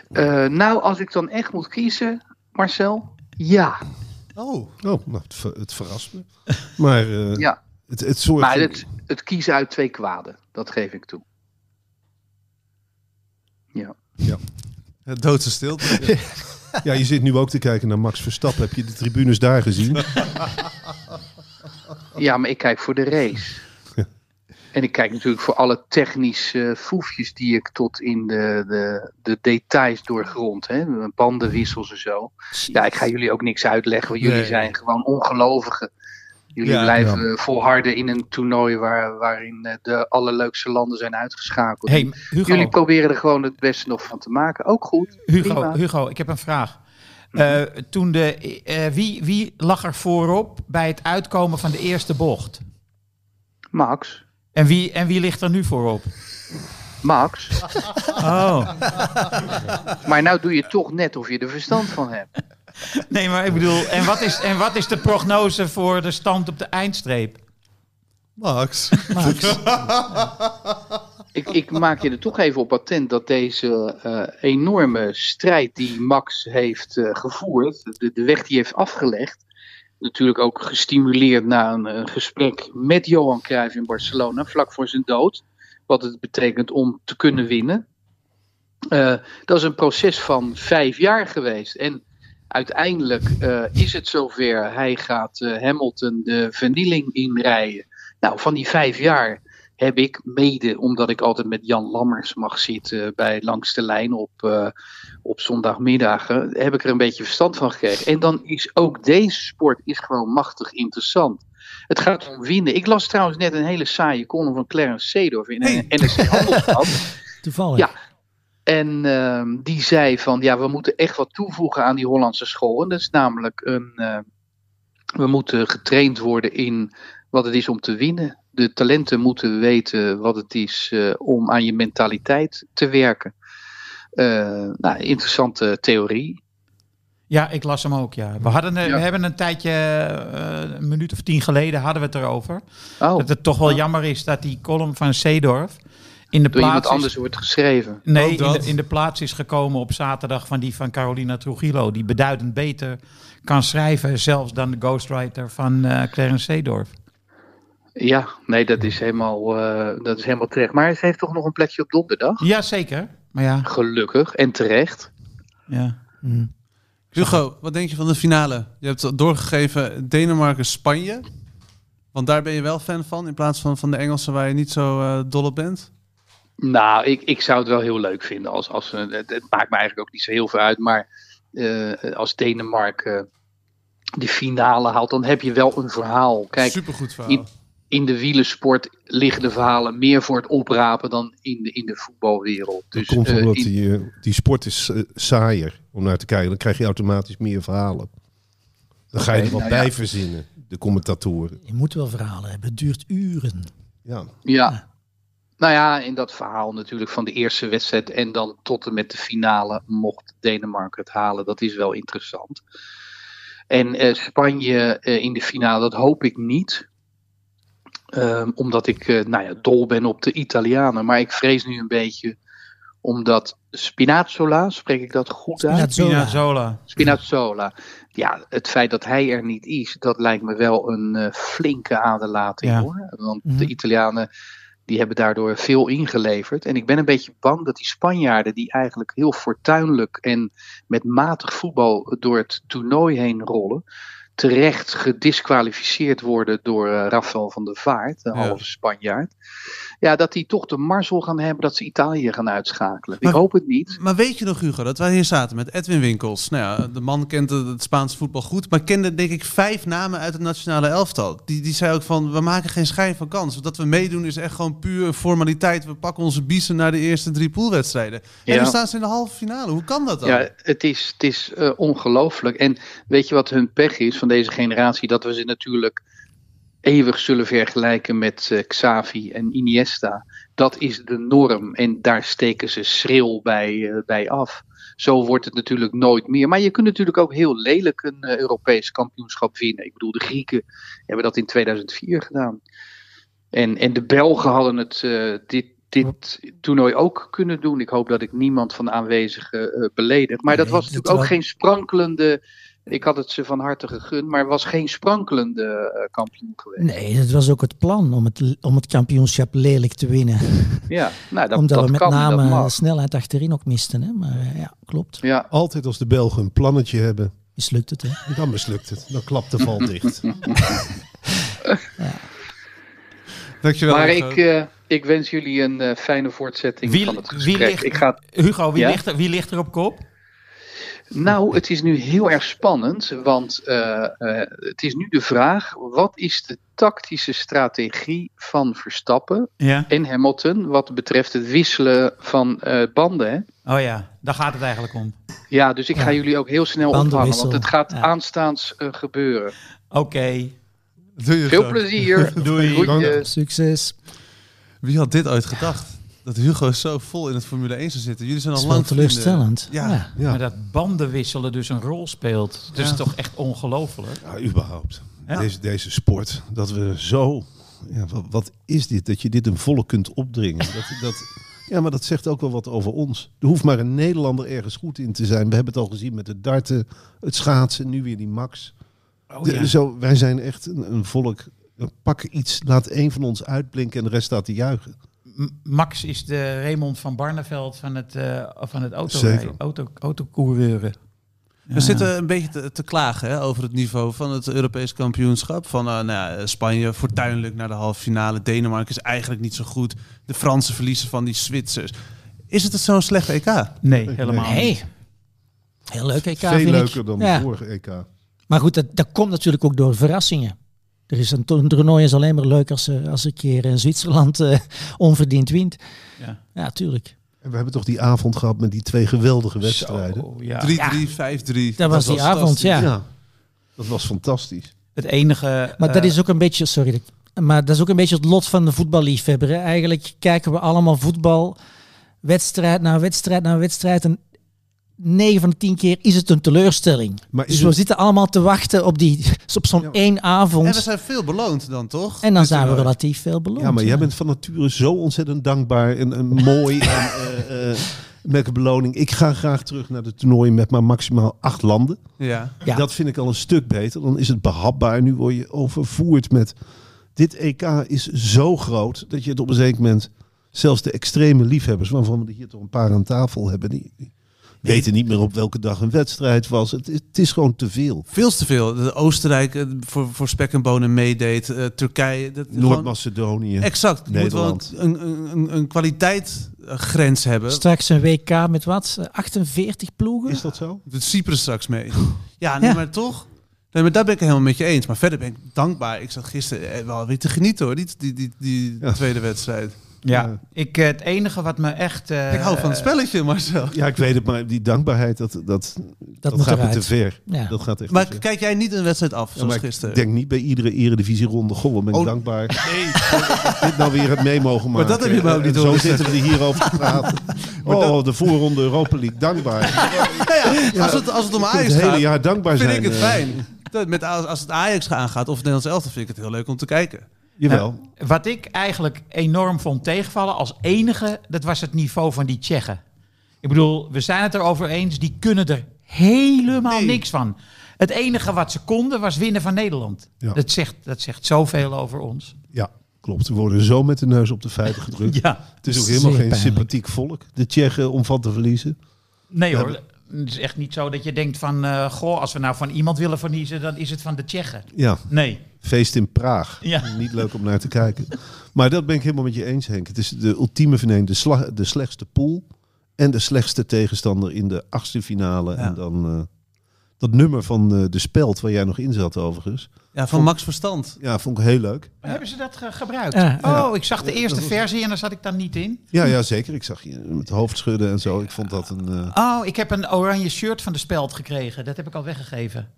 Speaker 6: Eh, nou, als ik dan echt moet kiezen, Marcel, ja.
Speaker 3: Oh.
Speaker 1: Oh, nou, het, ver- het verrast me. Maar eh,
Speaker 6: (laughs) ja.
Speaker 1: het, het soort...
Speaker 6: Maar het, het kiezen uit twee kwaden, dat geef ik toe. Ja.
Speaker 3: Doodse (laughs) stilte.
Speaker 1: Ja, je zit nu ook te kijken naar Max Verstappen. Heb je de tribunes daar gezien?
Speaker 6: dus,
Speaker 3: Oh.
Speaker 6: ja, maar ik kijk voor de race. En ik kijk natuurlijk voor alle technische foefjes die ik tot in de, de, de details doorgrond. Hè? Bandenwissels en zo. Ja, ik ga jullie ook niks uitleggen. want Jullie
Speaker 3: Nee.
Speaker 6: zijn gewoon ongelovigen. Jullie
Speaker 3: Ja,
Speaker 6: blijven eh, volharden in een toernooi waar, waarin eh, de allerleukste landen zijn uitgeschakeld.
Speaker 4: Hey, Hugo,
Speaker 6: Jullie proberen er gewoon het beste nog van te maken. Ook goed.
Speaker 4: Hugo,
Speaker 6: prima.
Speaker 4: Hugo, ik heb een vraag.
Speaker 6: Mhm.
Speaker 4: Eh, toen de, eh, wie, wie lag er voorop bij het uitkomen van de eerste bocht?
Speaker 6: Max.
Speaker 4: En wie, en wie ligt er nu voorop?
Speaker 6: Max.
Speaker 4: Oh,
Speaker 6: Maar nou doe je toch net of je er verstand van hebt.
Speaker 4: (laughs) nee, maar ik bedoel, en wat, is, en wat is de prognose voor de stand op de eindstreep?
Speaker 3: Max.
Speaker 5: Max.
Speaker 6: Ik, ik maak je er toch even op attent dat deze eh, enorme strijd die Max heeft eh, gevoerd, de, de weg die hij heeft afgelegd, natuurlijk ook gestimuleerd na een eh, gesprek met Johan Cruijff in Barcelona, vlak voor zijn dood, wat het betekent om te kunnen winnen. Eh, dat is een proces van vijf jaar geweest. En uiteindelijk eh, is het zover. Hij gaat eh, Hamilton de vernieling inrijden. Nou, van die vijf jaar heb ik mede, omdat ik altijd met Jan Lammers mag zitten bij Langs de Lijn op, eh, op zondagmiddagen, heb ik er een beetje verstand van gekregen. En dan is ook deze sport is gewoon machtig interessant. Het gaat om winnen. Ik las trouwens net een hele saaie column van Clarence Seedorf in een NSC Handelsblad.
Speaker 5: Toevallig.
Speaker 6: Ja. En ehm, die zei van ja, we moeten echt wat toevoegen aan die Hollandse school. En dat is namelijk een. eh, we moeten getraind worden in wat het is om te winnen. De talenten moeten weten wat het is eh, om aan je mentaliteit te werken. Eh, nou, interessante theorie.
Speaker 4: Ja, ik las hem ook, ja. We, hadden, eh,
Speaker 6: Ja.
Speaker 4: we hebben een tijdje, eh, een minuut of tien geleden hadden we het erover.
Speaker 6: Oh,
Speaker 4: Dat het toch wel jammer is dat die column van Seedorf in de
Speaker 6: door iemand
Speaker 4: plaats is-
Speaker 6: anders wordt geschreven.
Speaker 4: Nee,
Speaker 3: Ook
Speaker 4: in
Speaker 3: dat.
Speaker 4: de, in de plaats is gekomen op zaterdag van die van Carolina Trujillo. Die beduidend beter kan schrijven zelfs dan de ghostwriter van eh Clarence Seedorf.
Speaker 6: Ja, nee, dat is helemaal, eh, dat is helemaal terecht. Maar ze heeft toch nog een plekje op donderdag?
Speaker 4: Jazeker, maar ja.
Speaker 6: Gelukkig en terecht.
Speaker 4: ja.
Speaker 3: Hugo, wat denk je van de finale? Je hebt doorgegeven Denemarken-Spanje. Want daar ben je wel fan van, in plaats van van de Engelsen waar je niet zo eh, dol op bent.
Speaker 6: Nou, ik, ik zou het wel heel leuk vinden. Als, als, we- het, het maakt me eigenlijk ook niet zo heel veel uit. Maar eh, als Denemarken eh, de finale haalt, dan heb je wel een verhaal. Kijk,
Speaker 3: Supergoed verhaal.
Speaker 6: in, in de wielersport liggen de verhalen meer voor het oprapen dan in de, in de voetbalwereld. Dus,
Speaker 1: dat komt
Speaker 6: eh,
Speaker 1: omdat
Speaker 6: in-
Speaker 1: die, eh, die sport is eh, saaier om naar te kijken. Dan krijg je automatisch meer verhalen. Dan ga je er wat
Speaker 6: Nou
Speaker 1: bij verzinnen, de commentatoren.
Speaker 5: Je moet wel verhalen hebben. Het duurt uren.
Speaker 1: Ja.
Speaker 6: Ja. Nou ja, in dat verhaal natuurlijk van de eerste wedstrijd en dan tot en met de finale mocht Denemarken het halen. Dat is wel interessant. En eh, Spanje eh, in de finale, dat hoop ik niet. Ehm, omdat ik eh, nou ja, dol ben op de Italianen. Maar ik vrees nu een beetje omdat Spinazzola, spreek ik dat goed uit?
Speaker 5: Spinazzola.
Speaker 4: Zola.
Speaker 6: Spinazzola. Ja, het feit dat hij er niet is, dat lijkt me wel een eh, flinke aderlating
Speaker 4: Ja.
Speaker 6: hoor. Want
Speaker 5: Mhm.
Speaker 6: de Italianen die hebben daardoor veel ingeleverd. En ik ben een beetje bang dat die Spanjaarden, die eigenlijk heel fortuinlijk en met matig voetbal door het toernooi heen rollen, terecht gedisqualificeerd worden door eh, Rafael van der Vaart, de
Speaker 3: Ja.
Speaker 6: halve Spanjaard. Ja, dat die toch de marzel gaan hebben dat ze Italië gaan uitschakelen.
Speaker 3: Maar-
Speaker 6: ik hoop het niet.
Speaker 3: Maar weet je nog, Hugo, dat wij hier zaten met Edwin Winkels? Nou ja, de man kent het, het Spaanse voetbal goed, maar kende denk ik vijf namen uit het nationale elftal. Die, die zei ook van, we maken geen schijn van kans. Dat we meedoen is echt gewoon puur een formaliteit. We pakken onze biezen naar de eerste drie poolwedstrijden. En
Speaker 6: Ja.
Speaker 3: dan staan ze in de halve finale. Hoe kan dat dan?
Speaker 6: Ja, het is, het is eh, ongelooflijk. En weet je wat hun pech is van deze generatie? Dat we ze natuurlijk eeuwig zullen vergelijken met eh, Xavi en Iniesta. Dat is de norm en daar steken ze schril bij, eh, bij af. Zo wordt het natuurlijk nooit meer. Maar je kunt natuurlijk ook heel lelijk een eh, Europees kampioenschap winnen. Ik bedoel, de Grieken hebben dat in 2004 gedaan. En, en de Belgen hadden het eh, dit, dit toernooi ook kunnen doen. Ik hoop dat ik niemand van de aanwezigen eh, beledig. Maar dat
Speaker 5: Nee,
Speaker 6: was
Speaker 5: dit
Speaker 6: natuurlijk ook
Speaker 5: wel.
Speaker 6: geen sprankelende. Ik had het ze van harte gegund, maar was geen sprankelende eh, kampioen geweest.
Speaker 5: Nee, dat was ook het plan om het, om het kampioenschap lelijk te winnen.
Speaker 6: Ja, nou, dat,
Speaker 5: Omdat
Speaker 6: dat
Speaker 5: we met
Speaker 6: kan, dat
Speaker 5: name
Speaker 6: mag.
Speaker 5: snelheid achterin ook misten. Hè? Maar eh, ja, klopt.
Speaker 6: Ja,
Speaker 1: Altijd als de Belgen een plannetje hebben,
Speaker 5: Mislukt het, hè?
Speaker 1: dan mislukt het. Dan klapt de (laughs) val dicht.
Speaker 3: Dankjewel,
Speaker 6: maar
Speaker 3: Hugo.
Speaker 6: ik, eh, ik wens jullie een eh, fijne voortzetting
Speaker 4: Wie-
Speaker 6: van het
Speaker 4: wie
Speaker 6: gesprek.
Speaker 4: ligt-
Speaker 6: ik ga,
Speaker 4: Hugo, wie,
Speaker 6: Ja?
Speaker 4: ligt er, wie ligt er op kop?
Speaker 6: nou, het is nu heel erg spannend, want eh, eh, het is nu de vraag, wat is de tactische strategie van Verstappen
Speaker 4: Ja.
Speaker 6: en Hamilton wat betreft het wisselen van eh, banden? Hè?
Speaker 4: Oh ja, daar gaat het eigenlijk om.
Speaker 6: Ja, dus ik ga
Speaker 5: Ja.
Speaker 6: jullie ook heel snel opvangen,
Speaker 5: Bandenwissel.
Speaker 6: want het gaat
Speaker 5: Ja.
Speaker 6: aanstaans eh, gebeuren.
Speaker 4: Oké.
Speaker 3: Doe je
Speaker 6: Veel
Speaker 3: zo.
Speaker 6: plezier.
Speaker 4: Doei.
Speaker 6: Groetjes.
Speaker 5: Succes.
Speaker 3: Wie had dit ooit gedacht? Dat Hugo zo vol in het Formule 1 zou zitten. Jullie zijn
Speaker 5: Dat
Speaker 3: al
Speaker 5: is wel
Speaker 3: lang vrienden.
Speaker 5: teleurstellend.
Speaker 3: Ja.
Speaker 1: Ja,
Speaker 4: Maar dat banden wisselen dus een rol speelt. Dat is
Speaker 3: Ja.
Speaker 4: toch echt ongelooflijk.
Speaker 1: Ja, überhaupt.
Speaker 4: Ja.
Speaker 1: Deze, deze sport, dat we zo ja, wat, wat is dit? Dat je dit een volk kunt opdringen. Dat, dat, ja, maar dat zegt ook wel wat over ons. Er hoeft maar een Nederlander ergens goed in te zijn. We hebben het al gezien met de darten, het schaatsen, nu weer die Max.
Speaker 3: Oh
Speaker 5: Oh,
Speaker 1: De- zo, wij zijn echt een, een volk. Pak iets, laat één van ons uitblinken en de rest staat te juichen.
Speaker 4: M- Max is de Raymond van Barneveld van het, eh van het
Speaker 1: Zeker.
Speaker 4: auto, auto, autocoureuren.
Speaker 3: We zitten een beetje te, te klagen hè, over het niveau van het Europees kampioenschap. Van eh, nou, ja, Spanje fortuinlijk naar de halve finale. Denemarken is eigenlijk niet zo goed. De Fransen verliezen van die Zwitsers. Is het het zo'n slecht EK?
Speaker 4: Nee, helemaal
Speaker 1: Nee.
Speaker 4: niet.
Speaker 5: Hey. Heel leuk EK
Speaker 1: Veel
Speaker 5: E vind
Speaker 1: leuker
Speaker 5: ik.
Speaker 1: dan
Speaker 5: Ja.
Speaker 1: de vorige E EK.
Speaker 5: Maar goed, dat, dat komt natuurlijk ook door verrassingen. Er is een, to- een toernooi is alleen maar leuk als, eh, als een keer in Zwitserland eh, (laughs) onverdiend wint.
Speaker 4: Ja.
Speaker 5: Ja, tuurlijk.
Speaker 1: En we hebben toch die avond gehad met die twee geweldige wedstrijden.
Speaker 4: Zo, ja.
Speaker 3: 3-3, 5-3.
Speaker 5: Dat was die avond,
Speaker 3: fantastisch.
Speaker 5: ja.
Speaker 1: Dat was fantastisch.
Speaker 4: Het enige...
Speaker 5: Maar dat
Speaker 4: eh,
Speaker 5: is ook een beetje, sorry, dat ik- maar dat is ook een beetje het lot van de voetballiefhebber. Hè. Eigenlijk kijken we allemaal voetbal, wedstrijd na wedstrijd na wedstrijd. En 9 van de 10 keer is het een teleurstelling.
Speaker 1: Maar
Speaker 5: Dus
Speaker 1: is
Speaker 5: we
Speaker 1: het-
Speaker 5: zitten allemaal te wachten op, die, (laughs) op zo'n
Speaker 1: Ja.
Speaker 5: één avond.
Speaker 3: En
Speaker 5: En,
Speaker 3: we zijn veel beloond dan, toch?
Speaker 5: dan
Speaker 3: Dit
Speaker 5: zijn we
Speaker 3: toernooi.
Speaker 5: relatief veel beloond.
Speaker 1: Ja, maar
Speaker 5: ja.
Speaker 1: jij bent van nature zo ontzettend dankbaar en, en
Speaker 5: (laughs)
Speaker 1: mooi. en, eh, eh, met een beloning. Ik ga graag terug naar de toernooien met maar maximaal acht landen.
Speaker 3: Ja.
Speaker 5: Ja.
Speaker 1: Dat vind ik al een stuk beter. Dan is het behapbaar. Nu word je overvoerd met... Dit EK is zo groot dat je het op een zeker moment... Zelfs de extreme liefhebbers, waarvan we er hier toch een paar aan tafel hebben... Die, die weten niet meer op welke dag een wedstrijd was. Het, is- het is gewoon te veel.
Speaker 3: Veel te veel. De Oostenrijk eh, voor, voor spek en bonen meedeed. eh, Turkije. dat- gewoon-
Speaker 1: Noord-Macedonië.
Speaker 3: Exact. Je moet wel
Speaker 1: Nederland.
Speaker 3: een, een, een, een kwaliteitsgrens hebben.
Speaker 5: Straks een WK met wat? 48 ploegen?
Speaker 1: Is dat zo?
Speaker 3: Doet Cyprus straks mee. Ja, nee,
Speaker 5: Ja.
Speaker 3: maar toch. Nee, maar daar ben ik het helemaal met je eens. Maar verder ben ik dankbaar. Ik zat gisteren eh, wel weer te genieten hoor. Die, die, die, die
Speaker 1: Ja.
Speaker 3: tweede wedstrijd.
Speaker 4: Ja,
Speaker 1: Ja.
Speaker 4: Ik, eh, het enige wat me echt... eh,
Speaker 3: ik hou van het spelletje, Marcel.
Speaker 1: Ja, ik weet het, maar die dankbaarheid, dat, dat, dat,
Speaker 5: dat, moet
Speaker 1: gaat me
Speaker 5: eruit.
Speaker 1: te ver.
Speaker 5: Ja.
Speaker 1: Dat gaat echt
Speaker 3: Maar
Speaker 1: te ver.
Speaker 3: kijk jij niet een wedstrijd af,
Speaker 1: Ja,
Speaker 3: zoals
Speaker 1: maar ik
Speaker 3: gisteren?
Speaker 1: denk niet bij iedere eredivisieronde. Goh, wat ben ik
Speaker 3: Oh.
Speaker 1: dankbaar
Speaker 3: Nee.
Speaker 1: dat ik dit nou weer heb mee mogen
Speaker 3: Maar
Speaker 1: maken.
Speaker 3: dat heb je me ook
Speaker 1: En
Speaker 3: niet
Speaker 1: Zo
Speaker 3: horen
Speaker 1: zitten we er hierover te praten. oh, de voorronde Europa League, dankbaar.
Speaker 3: Nou ja, als, het, als het om
Speaker 1: Het
Speaker 3: Ajax
Speaker 1: hele
Speaker 3: gaat,
Speaker 1: jaar dankbaar
Speaker 3: vind
Speaker 1: zijn.
Speaker 3: ik het
Speaker 1: eh,
Speaker 3: fijn. Dat Met, als als het Ajax aangaat of het Nederlands elftal, vind ik het heel leuk om te kijken.
Speaker 1: jawel.
Speaker 4: eh, Wat ik eigenlijk enorm vond tegenvallen als enige, dat was het niveau van die Tsjechen. Ik bedoel, we zijn het erover eens, die kunnen er helemaal
Speaker 3: Nee.
Speaker 4: niks van. Het enige wat ze konden was winnen van Nederland.
Speaker 1: Ja.
Speaker 4: Dat, zegt, dat zegt zoveel over
Speaker 3: (laughs)
Speaker 4: ons.
Speaker 1: Ja, klopt. We worden zo met de neus op de feiten gedrukt.
Speaker 4: Ja.
Speaker 1: Het is ook helemaal
Speaker 5: Zeer
Speaker 1: geen
Speaker 5: pijnlijk.
Speaker 1: sympathiek volk. De Tsjechen om van te verliezen.
Speaker 4: Nee hoor, het is echt niet zo dat je denkt van, eh, goh, als we nou van iemand willen verliezen, dan is het van de Tsjechen.
Speaker 1: Ja,
Speaker 4: Nee.
Speaker 1: feest in Praag.
Speaker 4: Ja.
Speaker 1: Niet leuk om naar te kijken. Maar dat ben ik helemaal met je eens, Henk. Het is de ultieme verneem. De, slag, de slechtste pool en de slechtste tegenstander in de achtste finale.
Speaker 3: Ja.
Speaker 1: En dan eh, dat nummer van eh, de speld waar jij nog in zat overigens.
Speaker 3: Ja, van Max Verstand.
Speaker 1: Ja, vond ik heel leuk.
Speaker 4: Hebben ze dat ge- gebruikt?
Speaker 5: Ja,
Speaker 4: Oh, ik zag de eerste versie en daar zat ik dan niet in.
Speaker 1: Ja, ja zeker. Ik zag je met hoofd schudden en zo. Ik vond dat een... eh,
Speaker 4: Oh, ik heb een oranje shirt van de speld gekregen. Dat heb ik al weggegeven.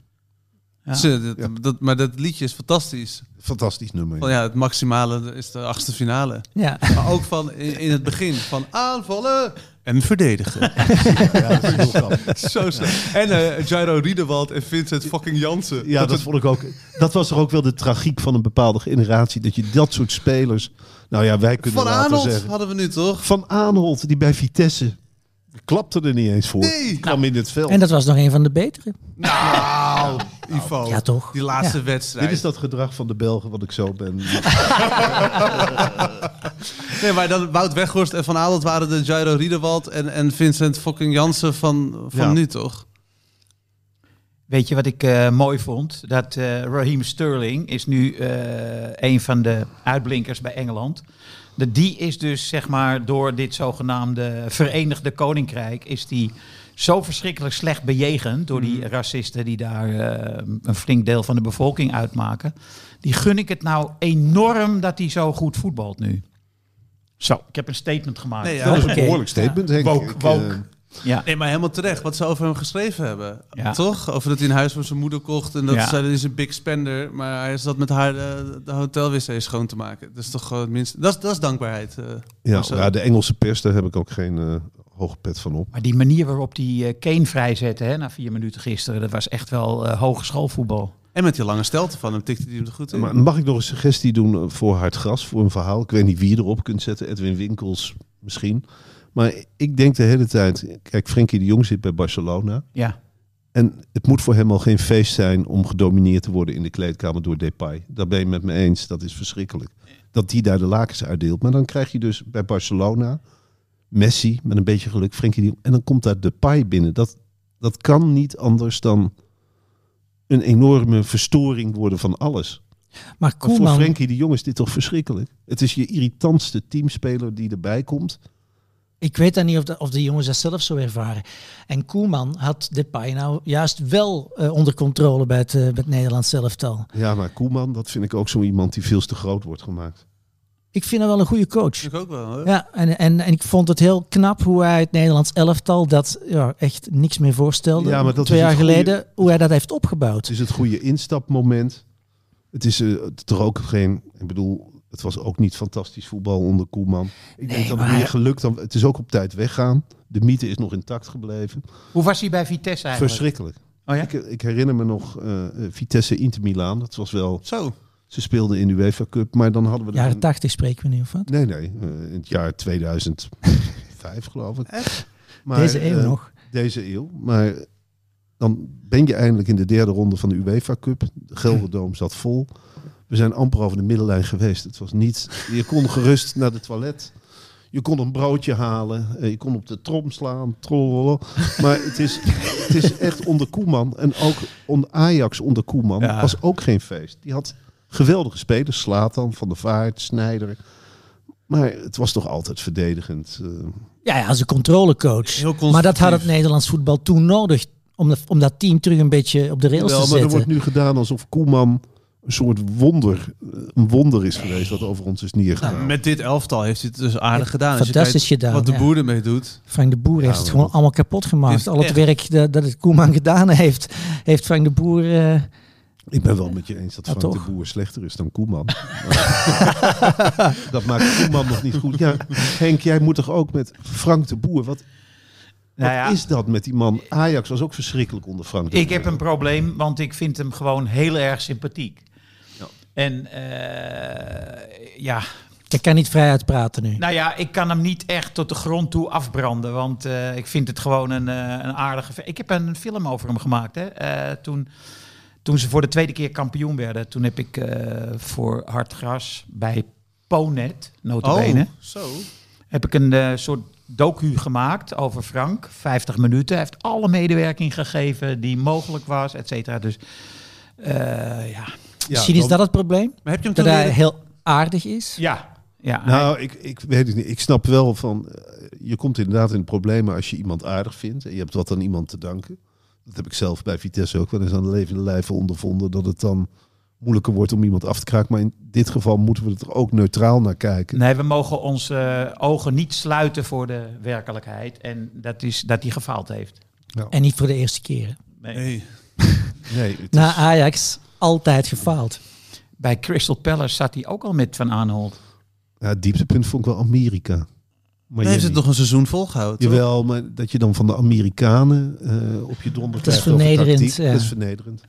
Speaker 4: Ja.
Speaker 3: Ze- dat-
Speaker 1: Ja.
Speaker 3: dat, maar dat liedje is fantastisch.
Speaker 1: fantastisch nummer.
Speaker 3: Van, Oh, ja, het maximale is de achtste finale.
Speaker 5: Ja.
Speaker 3: Maar ook van in, in het begin van aanvallen en verdedigen.
Speaker 1: Ja, dat is heel grappig.
Speaker 3: (laughs) Zo slecht. En eh Jairo Riedewald en Vincent fucking Jansen.
Speaker 1: Ja, dat vond ik ook. Dat was toch ook wel de tragiek van een bepaalde generatie. Dat je dat soort spelers. Nou ja, wij kunnen
Speaker 3: Van
Speaker 1: laten
Speaker 3: Arnold
Speaker 1: zeggen.
Speaker 3: hadden we nu toch?
Speaker 1: Van Aanholt, die bij Vitesse klapte er niet eens voor.
Speaker 3: Nee.
Speaker 1: Kwam in het veld.
Speaker 5: En dat was nog een van de betere.
Speaker 3: Nou, Ivo.
Speaker 5: Ja, toch?
Speaker 3: Die laatste
Speaker 5: Ja.
Speaker 3: wedstrijd.
Speaker 1: Dit is dat gedrag van de Belgen wat ik zo ben.
Speaker 3: Nee, maar dan Wout Weghorst en Van Adelt waren de Jairo Riedewald en, en Vincent fucking Jansen van, van
Speaker 1: Ja.
Speaker 3: nu toch?
Speaker 4: Weet je wat ik eh, mooi vond? Dat eh Raheem Sterling is nu eh, een van de uitblinkers bij Engeland. De, die is dus zeg maar door dit zogenaamde Verenigde Koninkrijk is die zo verschrikkelijk slecht bejegend door
Speaker 3: Mhm.
Speaker 4: die racisten die daar eh, een flink deel van de bevolking uitmaken. Die gun ik het nou enorm dat hij zo goed voetbalt nu. Zo, ik heb een statement gemaakt.
Speaker 3: Nee, ja.
Speaker 1: Dat is een
Speaker 5: Oké.
Speaker 1: behoorlijk statement, Henk.
Speaker 4: Woke,
Speaker 1: Ik,
Speaker 4: woke.
Speaker 1: eh,
Speaker 4: ja.
Speaker 3: Nee, maar helemaal terecht. Wat ze over hem geschreven hebben.
Speaker 4: Ja.
Speaker 3: Toch? Over dat hij een huis voor zijn moeder kocht. En dat
Speaker 4: Ja.
Speaker 3: zij is een big spender. Maar hij zat met haar eh, de hotelwc schoon te maken. Dat is toch gewoon het minste. Dat is, dat is dankbaarheid. eh.
Speaker 1: ja,
Speaker 3: Zo.
Speaker 1: ja, de Engelse pers, daar heb ik ook geen eh hoge pet van op.
Speaker 4: Maar die manier waarop die eh Kane vrijzette hè, na vier minuten gisteren, dat was echt wel eh hogeschoolvoetbal.
Speaker 3: En met die lange stelte van hem tikte hij hem er goed in.
Speaker 1: Maar mag ik nog een suggestie doen eh, voor Hard Gras, voor een verhaal? Ik weet niet wie je erop kunt zetten. Edwin Winkels misschien. Maar ik denk de hele tijd... Kijk, Frenkie de Jong zit bij Barcelona.
Speaker 4: Ja.
Speaker 1: En het moet voor hem al geen feest zijn om gedomineerd te worden in de kleedkamer door Depay. Daar ben je met me eens. Dat is verschrikkelijk. Dat die daar de lakens uitdeelt. Maar dan krijg je dus bij Barcelona Messi met een beetje geluk, Frenkie de Jong. En dan komt daar Depay binnen. Dat, dat kan niet anders dan een enorme verstoring worden van alles.
Speaker 5: Maar
Speaker 1: Maar voor
Speaker 5: Koeman,
Speaker 1: Frenkie de Jong is dit toch verschrikkelijk? Het is je irritantste teamspeler die erbij komt.
Speaker 5: ik weet dan niet of de, of de jongens dat zelf zo ervaren. En Koeman had Depay nou juist wel eh, onder controle bij het, eh, bij het Nederlands elftal.
Speaker 1: Ja, maar Koeman, dat vind ik ook zo iemand die veel te groot wordt gemaakt.
Speaker 5: Ik vind hem wel een goede coach.
Speaker 3: ik ook wel. Hoor.
Speaker 5: Ja, en, en, en ik vond het heel knap hoe hij het Nederlands elftal, dat ja, echt niks meer voorstelde,
Speaker 1: Ja, maar dat
Speaker 5: twee
Speaker 1: is
Speaker 5: jaar
Speaker 1: het goede-
Speaker 5: geleden, hoe hij dat heeft opgebouwd.
Speaker 1: Het is het goede instapmoment. Het is eh, toch ook geen. Ik bedoel, het was ook niet fantastisch voetbal onder Koeman. Ik
Speaker 5: Nee,
Speaker 1: denk dat het
Speaker 5: maar-
Speaker 1: meer gelukt dan. Het is ook op tijd weggaan. De mythe is nog intact gebleven.
Speaker 4: Hoe was hij bij Vitesse eigenlijk?
Speaker 1: Verschrikkelijk.
Speaker 4: Oh ja?
Speaker 1: Ik, ik herinner me nog eh, eh, Vitesse Inter Milaan. Dat was wel.
Speaker 3: Zo.
Speaker 1: Ze speelden in de UEFA Cup, maar dan hadden we. er
Speaker 5: Jaren
Speaker 1: een-
Speaker 5: tachtig spreken we nu, of wat?
Speaker 1: Nee, nee. eh, in het jaar 2005 geloof ik. Maar,
Speaker 5: Deze eeuw
Speaker 1: eh,
Speaker 5: nog.
Speaker 1: Deze eeuw. Maar dan ben je eindelijk in de derde ronde van de UEFA Cup. De Gelderdoom zat vol. We zijn amper over de middenlijn geweest. Het was niet... Je kon gerust naar de toilet. Je kon een broodje halen. eh, Je kon op de trom slaan. trololo. Maar het is, het is echt onder Koeman. En ook onder Ajax onder Koeman
Speaker 3: Ja.
Speaker 1: was ook geen feest. Die had geweldige spelers. Slatan, Van der Vaart, Snijder. Maar het was toch altijd verdedigend. eh.
Speaker 5: Ja, ja, als een controlecoach.
Speaker 3: Heel
Speaker 5: Maar dat had
Speaker 3: constructief.
Speaker 5: het Nederlands voetbal toen nodig, om, dat- om dat team terug een beetje op de rails
Speaker 1: Wel,
Speaker 5: te
Speaker 1: maar er
Speaker 5: zetten.
Speaker 1: wordt nu gedaan alsof Koeman een soort wonder, eh, een wonder is geweest wat over ons is neergehaald.
Speaker 4: Nou,
Speaker 3: Met dit elftal heeft hij het dus aardig gedaan. Als je
Speaker 5: Fantastisch
Speaker 3: kijkt
Speaker 5: gedaan,
Speaker 3: Wat de
Speaker 5: ja.
Speaker 3: boer ermee doet.
Speaker 5: Frank de Boer heeft
Speaker 1: maar
Speaker 5: het gewoon
Speaker 1: dat-
Speaker 5: allemaal kapot
Speaker 3: Dit
Speaker 5: gemaakt.
Speaker 3: is
Speaker 5: Al het
Speaker 3: echt-
Speaker 5: werk dat, dat het Koeman gedaan heeft, heeft Frank de Boer... eh,
Speaker 1: Ik ben wel met je eens dat
Speaker 5: Ja,
Speaker 1: Frank
Speaker 5: toch?
Speaker 1: de Boer slechter is dan Koeman. Maar- (laughs) dat maakt Koeman nog niet goed. Ja, Henk, jij moet toch ook met Frank de Boer. Wat,
Speaker 4: Nou
Speaker 1: wat
Speaker 4: ja.
Speaker 1: is dat met die man? Ajax was ook verschrikkelijk onder Frank de
Speaker 4: Ik
Speaker 1: Boer.
Speaker 4: heb een probleem, want ik vind hem gewoon heel erg sympathiek. En eh, ja,
Speaker 5: ik kan niet vrij uitpraten nu.
Speaker 4: nou ja, ik kan hem niet echt tot de grond toe afbranden. Want eh, ik vind het gewoon een, eh, een aardige... ve- Ik heb een film over hem gemaakt. Hè. Eh, toen, toen ze voor de tweede keer kampioen werden, toen heb ik eh, voor Hard Gras bij Ponet, notabene...
Speaker 3: Oh, zo.
Speaker 4: heb ik een eh, soort docu gemaakt over Frank. 50 minuten. Hij heeft alle medewerking gegeven die mogelijk was, et cetera. Dus eh, ja.
Speaker 5: Misschien is dat het probleem,
Speaker 3: Maar heb je hem
Speaker 5: dat
Speaker 3: toen
Speaker 5: hij
Speaker 3: leren-
Speaker 5: heel aardig is.
Speaker 4: Ja. ja.
Speaker 1: Nou, ik, ik weet het niet. Ik snap wel van. eh, Je komt inderdaad in de problemen als je iemand aardig vindt. En je hebt wat aan iemand te danken. Dat heb ik zelf bij Vitesse ook wel eens aan de levende lijve ondervonden. Dat het dan moeilijker wordt om iemand af te kraken. Maar in dit geval moeten we er ook neutraal naar kijken.
Speaker 4: Nee, we mogen onze eh, ogen niet sluiten voor de werkelijkheid. En dat is dat hij gefaald heeft.
Speaker 5: En niet voor de eerste keren.
Speaker 4: Nee.
Speaker 3: Nee.
Speaker 1: Nee, het
Speaker 5: Na
Speaker 1: is-
Speaker 5: Ajax altijd gefaald.
Speaker 4: Bij Crystal Palace zat hij ook al met Van Aanholt.
Speaker 1: ja, het dieptepunt vond ik wel Amerika. Maar
Speaker 3: Hij heeft het nog een seizoen volgehouden. toch?
Speaker 1: Jawel, maar dat je dan van de Amerikanen eh, op je donder
Speaker 5: Dat is
Speaker 1: krijgt over
Speaker 5: vernederend,
Speaker 1: tactiek,
Speaker 5: ja.
Speaker 1: Dat is vernederend.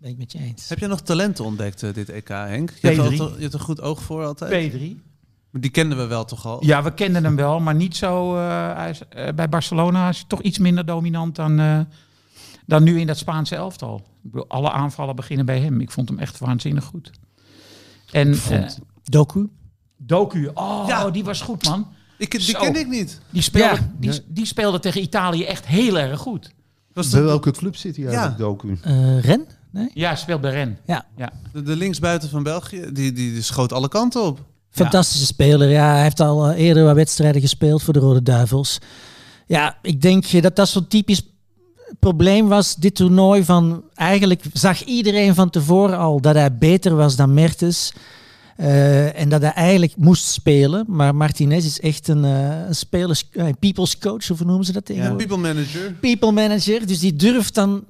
Speaker 5: Ben ik met je eens.
Speaker 3: Heb je nog talenten ontdekt eh, dit EK, Henk? Je hebt,
Speaker 4: Pedri.
Speaker 3: altijd- je hebt een goed oog voor altijd.
Speaker 4: Pedri.
Speaker 3: Maar Die kenden we wel toch al?
Speaker 4: Ja, we kenden hem wel, maar niet zo. eh, hij is, eh, bij Barcelona is hij toch iets minder dominant dan, eh, dan nu in dat Spaanse elftal. Ik bedoel, alle aanvallen beginnen bij hem. Ik vond hem echt waanzinnig goed. En eh,
Speaker 5: Doku?
Speaker 4: Doku, oh,
Speaker 3: Ja.
Speaker 4: die was goed, man.
Speaker 3: Ik, die
Speaker 4: Zo.
Speaker 3: kende ik niet.
Speaker 4: Die speelde,
Speaker 5: Ja.
Speaker 4: die, die speelde tegen Italië echt heel erg goed.
Speaker 3: Was
Speaker 1: Bij
Speaker 3: de,
Speaker 1: welke club zit hij eigenlijk, Doku?
Speaker 5: Eh, Ren? Nee?
Speaker 4: Ja, speelt bij Ren.
Speaker 5: Ja.
Speaker 4: ja.
Speaker 3: de, de linksbuiten van België, die, die, die schoot alle kanten op.
Speaker 5: Fantastische speler. Ja, hij heeft al eh, eerder wat wedstrijden gespeeld voor de Rode Duivels. Ja, ik denk eh, dat dat zo'n typisch probleem was, dit toernooi. Van, eigenlijk zag iedereen van tevoren al dat hij beter was dan Mertens. eh, en dat hij eigenlijk moest spelen. Maar Martinez is echt een, eh, een spelers, eh, people's coach, of hoe noemen ze dat
Speaker 3: Een
Speaker 5: tegenwoordig?
Speaker 3: people manager.
Speaker 5: People manager, dus die durft dan...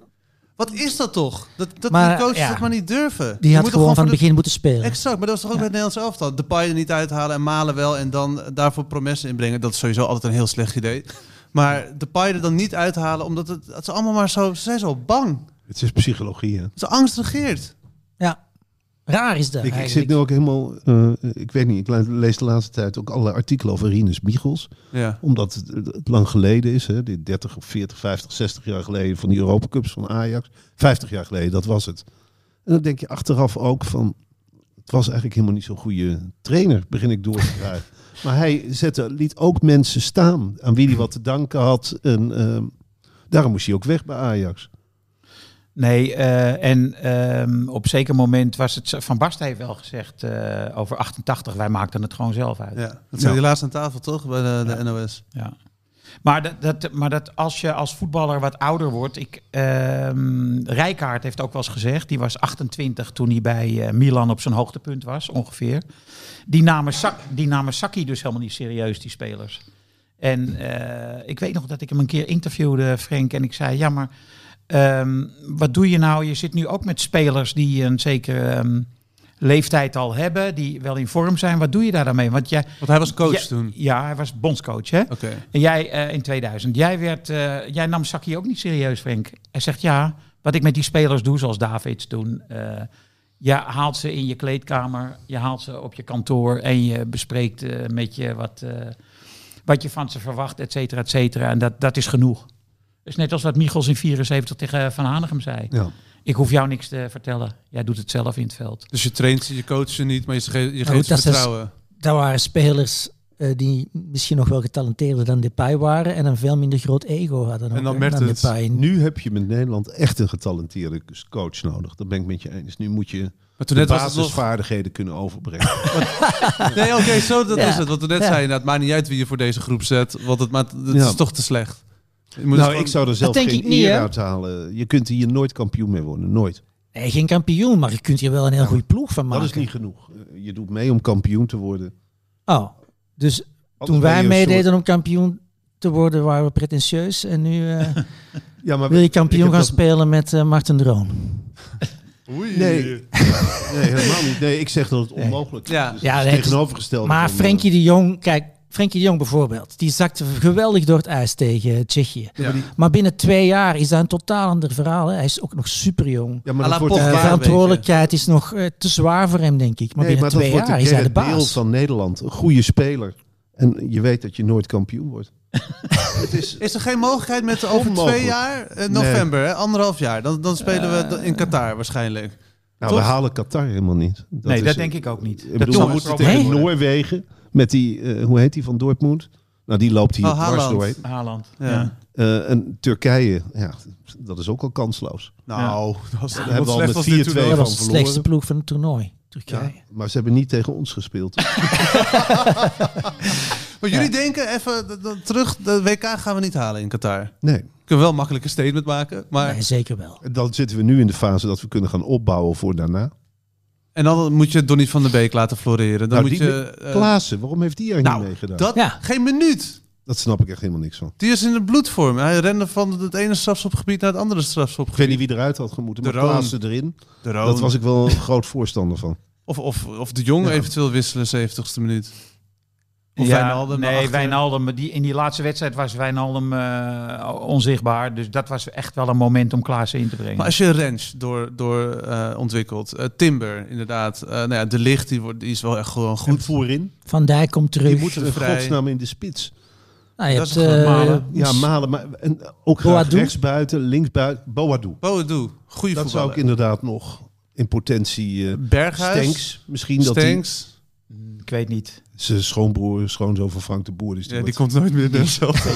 Speaker 3: Wat is dat toch? Dat, dat
Speaker 5: Maar,
Speaker 3: die coaches
Speaker 5: ja.
Speaker 3: dat maar niet durven.
Speaker 5: Die
Speaker 3: Je
Speaker 5: had
Speaker 3: moet toch
Speaker 5: gewoon van
Speaker 3: voor
Speaker 5: het
Speaker 3: de-
Speaker 5: begin moeten spelen.
Speaker 3: Exact, maar dat was toch ook bij het Nederlands elftal. De paai er niet uithalen en malen wel en dan daarvoor promessen inbrengen. Dat is sowieso altijd een heel slecht idee. Maar de paai er dan niet uithalen, omdat het, het is allemaal maar zo, ze zijn zo bang.
Speaker 1: Het is psychologie, hè?
Speaker 3: Zijn angst regeert.
Speaker 5: Ja. Raar is dat
Speaker 1: Ik, ik
Speaker 5: eigenlijk.
Speaker 1: zit nu ook helemaal, eh, ik weet niet, ik la- lees de laatste tijd ook allerlei artikelen over Rinus Michels.
Speaker 3: Ja.
Speaker 1: Omdat het, het lang geleden is, hè, die 30 of 40, 50, 60 jaar geleden van die Europa Cups van Ajax. 50 jaar geleden, dat was het. En dan denk je achteraf ook van, het was eigenlijk helemaal niet zo'n goede trainer, begin ik door te krijgen. maar hij zette, liet ook mensen staan aan wie hij wat te danken had. En ehm, daarom moest hij ook weg bij Ajax.
Speaker 4: Nee, eh, en ehm, op zeker moment was het... Van Basten heeft wel gezegd eh, over 88, wij maakten het gewoon zelf uit.
Speaker 3: ja. Dat zei hij laatst aan tafel, toch? Bij de, de NOS.
Speaker 4: Ja. Maar, dat, dat, maar dat als je als voetballer wat ouder wordt. Ik, ehm Rijkaard heeft ook wel eens gezegd. Die was 28 toen hij bij eh, Milan op zijn hoogtepunt was, ongeveer. Die namen, Sak, die namen Saki dus helemaal niet serieus, die spelers. En eh, ik weet nog dat ik hem een keer interviewde, Frank. En ik zei: Ja, maar ehm, wat doe je nou? Je zit nu ook met spelers die een zekere ehm, leeftijd al hebben. Die wel in vorm zijn. Wat doe je daar dan mee? Want jij.
Speaker 3: Want hij was coach
Speaker 4: Ja,
Speaker 3: toen.
Speaker 4: Ja, hij was bondscoach, hè?
Speaker 3: Oké.
Speaker 4: En jij eh, in 2000. Jij, werd, eh, jij nam Saki ook niet serieus, Frank. Hij zegt ja, wat ik met die spelers doe, zoals Davids doen. eh, je haalt ze in je kleedkamer, je haalt ze op je kantoor en je bespreekt eh, met je wat, eh, wat je van ze verwacht, et cetera, et cetera. En dat, dat is genoeg. Dat is net als wat Michels in 74 tegen eh, Van Hanegem zei.
Speaker 1: Ja.
Speaker 4: Ik hoef jou niks te vertellen. Jij doet het zelf in het veld.
Speaker 3: Dus je traint ze, je coacht ze niet, maar je geeft, je
Speaker 5: goed,
Speaker 3: geeft ze
Speaker 5: dat is-
Speaker 3: vertrouwen.
Speaker 5: Dat waren spelers eh, die misschien nog wel getalenteerder dan Depay waren en een veel minder groot ego hadden.
Speaker 3: En dan
Speaker 5: ook, hè,
Speaker 3: Mertens.
Speaker 5: Depay.
Speaker 1: Nu heb je met Nederland echt een getalenteerde coach nodig. Dat ben ik met je eens. Nu moet je
Speaker 3: Maar toen
Speaker 1: de
Speaker 3: net was het nog...
Speaker 1: basisvaardigheden kunnen overbrengen.
Speaker 3: Nee, oké, zo, dat
Speaker 5: (laughs) Ja.
Speaker 3: is het. Wat we net
Speaker 5: Ja.
Speaker 3: zeiden, het maakt niet uit wie je voor deze groep zet, want het, maakt, het
Speaker 1: Ja.
Speaker 3: is toch te slecht. Je moet het
Speaker 1: nou,
Speaker 3: gewoon-
Speaker 1: ik zou er zelf
Speaker 5: denk
Speaker 1: geen
Speaker 5: ik niet,
Speaker 1: eer
Speaker 5: hè?
Speaker 1: uit halen. Je kunt hier nooit kampioen mee worden. Nooit.
Speaker 5: Nee, geen kampioen, maar je kunt hier wel een heel goede ploeg van maken.
Speaker 1: Dat is niet genoeg. Eh, Je doet mee om kampioen te worden.
Speaker 5: Oh, dus
Speaker 1: Anders
Speaker 5: toen
Speaker 1: ben je
Speaker 5: wij
Speaker 1: een
Speaker 5: meededen
Speaker 1: soort-
Speaker 5: om kampioen te worden, waren we pretentieus. En nu eh,
Speaker 1: Ja, (laughs) maar
Speaker 5: wil je
Speaker 1: ik
Speaker 5: kampioen
Speaker 1: heb
Speaker 5: gaan
Speaker 1: dat- Dus
Speaker 5: spelen met eh, Martin Droon.
Speaker 1: Nee. (laughs) nee, helemaal niet. Nee, ik zeg dat het onmogelijk
Speaker 3: Ja.
Speaker 1: is. eh, Dus
Speaker 5: Ja,
Speaker 1: het is
Speaker 5: nee,
Speaker 1: tegenovergesteld.
Speaker 5: Maar Frenkie de Jong, kijk, Frenkie de Jong bijvoorbeeld, die zakte geweldig door het ijs tegen Tsjechië.
Speaker 3: Ja.
Speaker 5: Maar binnen twee jaar is dat een totaal ander verhaal. Hè. Hij is ook nog super jong.
Speaker 1: Ja, maar
Speaker 3: à
Speaker 1: dat
Speaker 3: la
Speaker 1: wordt
Speaker 3: Pogba.
Speaker 5: De
Speaker 3: Ja,
Speaker 5: Eh, verantwoordelijkheid is nog eh, te zwaar voor hem, denk ik. Maar
Speaker 1: nee,
Speaker 5: binnen
Speaker 1: maar dat
Speaker 5: twee
Speaker 1: wordt
Speaker 5: jaar
Speaker 1: de
Speaker 5: is hij de
Speaker 1: Gerrit Beel
Speaker 5: baas.
Speaker 1: van Nederland. Een goede speler. En je weet dat je nooit kampioen wordt. het is...
Speaker 3: Is er geen mogelijkheid met over
Speaker 1: Onmogelijk.
Speaker 3: twee jaar, eh, november, hè, anderhalf jaar? Dan, dan spelen we
Speaker 5: Eh.
Speaker 3: dat in Qatar waarschijnlijk.
Speaker 1: Nou, we
Speaker 3: Toch?
Speaker 1: halen Qatar helemaal niet.
Speaker 4: nee,
Speaker 1: is- eh,
Speaker 4: dat denk ik ook niet.
Speaker 1: Ik bedoel,
Speaker 3: doen
Speaker 1: dan
Speaker 3: we
Speaker 1: moet je
Speaker 3: ook
Speaker 1: tegen
Speaker 5: niet.
Speaker 1: Noorwegen met die, eh, hoe heet die van Dortmund? Nou, die loopt hier
Speaker 3: Oh,
Speaker 1: dwars
Speaker 3: Haaland.
Speaker 1: doorheen.
Speaker 4: Haaland.
Speaker 3: Ja.
Speaker 4: Ja.
Speaker 1: Eh, en Turkije, ja, dat is ook al kansloos.
Speaker 3: Nou, dat was
Speaker 1: hebben we al
Speaker 3: slecht
Speaker 1: met
Speaker 3: als dit
Speaker 1: 4-2
Speaker 3: toernooi.
Speaker 5: Dat
Speaker 1: van
Speaker 5: was de
Speaker 1: verloren.
Speaker 5: slechtste ploeg van het toernooi.
Speaker 1: Ja,
Speaker 5: Turkije.
Speaker 1: Maar ze hebben niet tegen ons gespeeld.
Speaker 3: Maar jullie denken even dat- dat terug, de WK gaan we niet halen in Qatar. Kunnen
Speaker 1: Nee,
Speaker 3: we wel makkelijk een statement maken, maar...
Speaker 5: Nee, zeker wel.
Speaker 1: dan zitten we nu in de fase dat we kunnen gaan opbouwen voor daarna.
Speaker 3: En dan moet je Donny van der Beek laten floreren. Dan
Speaker 1: Nou,
Speaker 3: moet
Speaker 1: die
Speaker 3: je... eh,
Speaker 1: Klaassen, waarom heeft die er
Speaker 3: nou,
Speaker 1: niet meegedaan? Dat...
Speaker 3: dat,
Speaker 5: Ja.
Speaker 3: geen minuut.
Speaker 1: snap ik echt helemaal niks van.
Speaker 3: Die is in de bloedvorm. Hij rende van het ene strafschopgebied naar het andere
Speaker 1: Ik weet
Speaker 3: strafschopgebied.
Speaker 1: niet wie eruit had gemoeten, maar
Speaker 3: De Roon.
Speaker 1: Klaassen erin.
Speaker 3: De Roon.
Speaker 1: Dat was ik wel een groot voorstander van.
Speaker 3: of, of, of de Jong eventueel wisselen, 70ste minuut. Of
Speaker 4: Ja,
Speaker 3: Wijnaldum naar
Speaker 4: Nee,
Speaker 3: achteren.
Speaker 4: Wijnaldum. Die, in die laatste wedstrijd was Wijnaldum eh, onzichtbaar. Dus dat was echt wel een moment om Klaassen in te brengen.
Speaker 3: Maar als je Rens door, door eh, ontwikkelt, eh, Timber inderdaad, eh nou ja, de licht die, wordt, die is wel echt gewoon
Speaker 1: En
Speaker 3: goed.
Speaker 1: voorin?
Speaker 5: Van Dijk komt
Speaker 1: Die
Speaker 5: terug.
Speaker 1: moeten in
Speaker 3: vrij.
Speaker 1: godsnaam in de spits.
Speaker 5: Nou, je
Speaker 3: Dat is
Speaker 5: hebt,
Speaker 3: een
Speaker 5: eh,
Speaker 4: malen.
Speaker 1: Ja, Malen, maar en ook graag
Speaker 5: Boadu?
Speaker 1: rechtsbuiten, linksbuiten. Boadu.
Speaker 3: Boadu, goede
Speaker 1: Dat zou
Speaker 3: voetballer.
Speaker 1: ik inderdaad nog in potentie... eh
Speaker 3: Berghuis,
Speaker 1: Stenks, misschien dat hij
Speaker 3: Stenks.
Speaker 4: Mm, Ik weet
Speaker 3: (laughs)
Speaker 4: niet.
Speaker 1: Zijn schoonbroer, schoonzoon van Frank de Boer. Dus die
Speaker 3: Ja, die
Speaker 1: wordt-
Speaker 3: komt nooit meer in de zelf.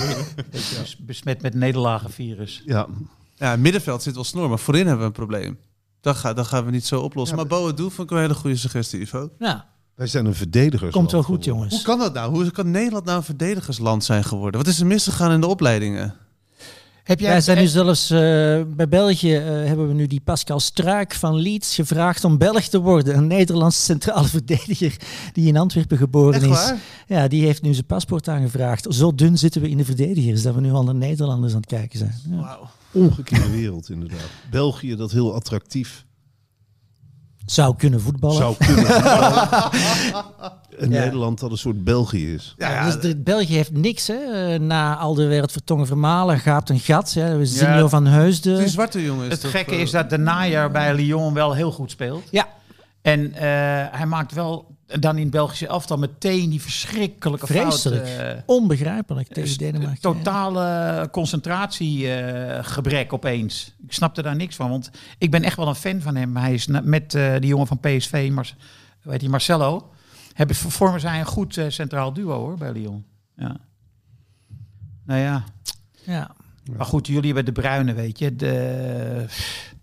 Speaker 4: Bes- Besmet met nederlagenvirus.
Speaker 1: ja.
Speaker 3: (laughs) Ja, middenveld zit wel snor, maar voorin hebben we een probleem. Dat, ga, dat gaan we niet zo oplossen.
Speaker 1: Ja,
Speaker 3: maar Boadu vond ik een hele goede suggestie, Ivo.
Speaker 5: nou,
Speaker 1: Wij zijn een verdediger.
Speaker 5: komt wel goed, jongens.
Speaker 3: Hoe kan dat nou? Hoe kan Nederland nou een verdedigersland zijn geworden? Wat is er misgegaan in de opleidingen?
Speaker 4: Heb
Speaker 5: Wij zijn nu zelfs eh, bij België eh, hebben we nu die Pascal Struik van Leeds gevraagd om Belg te worden. Een Nederlandse centrale (laughs) verdediger die in Antwerpen geboren
Speaker 3: Echt
Speaker 5: is.
Speaker 3: waar?
Speaker 5: Ja, die heeft nu zijn paspoort aangevraagd. Zo dun zitten we in de verdedigers dat we nu al naar Nederlanders aan het kijken zijn. Ja.
Speaker 3: Wauw.
Speaker 1: Omgekeerde wereld, inderdaad. België, dat heel attractief.
Speaker 5: Zou kunnen voetballen.
Speaker 1: zou kunnen. En Nederland dat een soort België is.
Speaker 5: Ja, dus de, België heeft niks, hè. Eh, Na Alderwereld, Vertongen, Vermalen gaat een gat. Hè. Zinio van
Speaker 3: Die
Speaker 5: Heusden.
Speaker 3: zwarte jongen is
Speaker 4: Het
Speaker 3: toch,
Speaker 4: gekke
Speaker 3: eh,
Speaker 4: is dat de najaar bij Lyon wel heel goed speelt.
Speaker 5: Ja,
Speaker 4: En eh, hij maakt wel dan in het Belgische elftal meteen die verschrikkelijke
Speaker 5: vreselijk.
Speaker 4: fout. eh,
Speaker 5: Onbegrijpelijk
Speaker 4: dus
Speaker 5: tegen Denemarken.
Speaker 4: Totale concentratiegebrek opeens. Ik snapte daar niks van, want ik ben echt wel een fan van hem. Hij is na- met eh, die jongen van PSV, Mar weet die, Marcelo, hebben, vormen zij een goed eh, centraal duo hoor, bij Lyon. Ja. Nou ja,
Speaker 5: Ja.
Speaker 4: maar goed, jullie hebben de Bruine, weet je. De,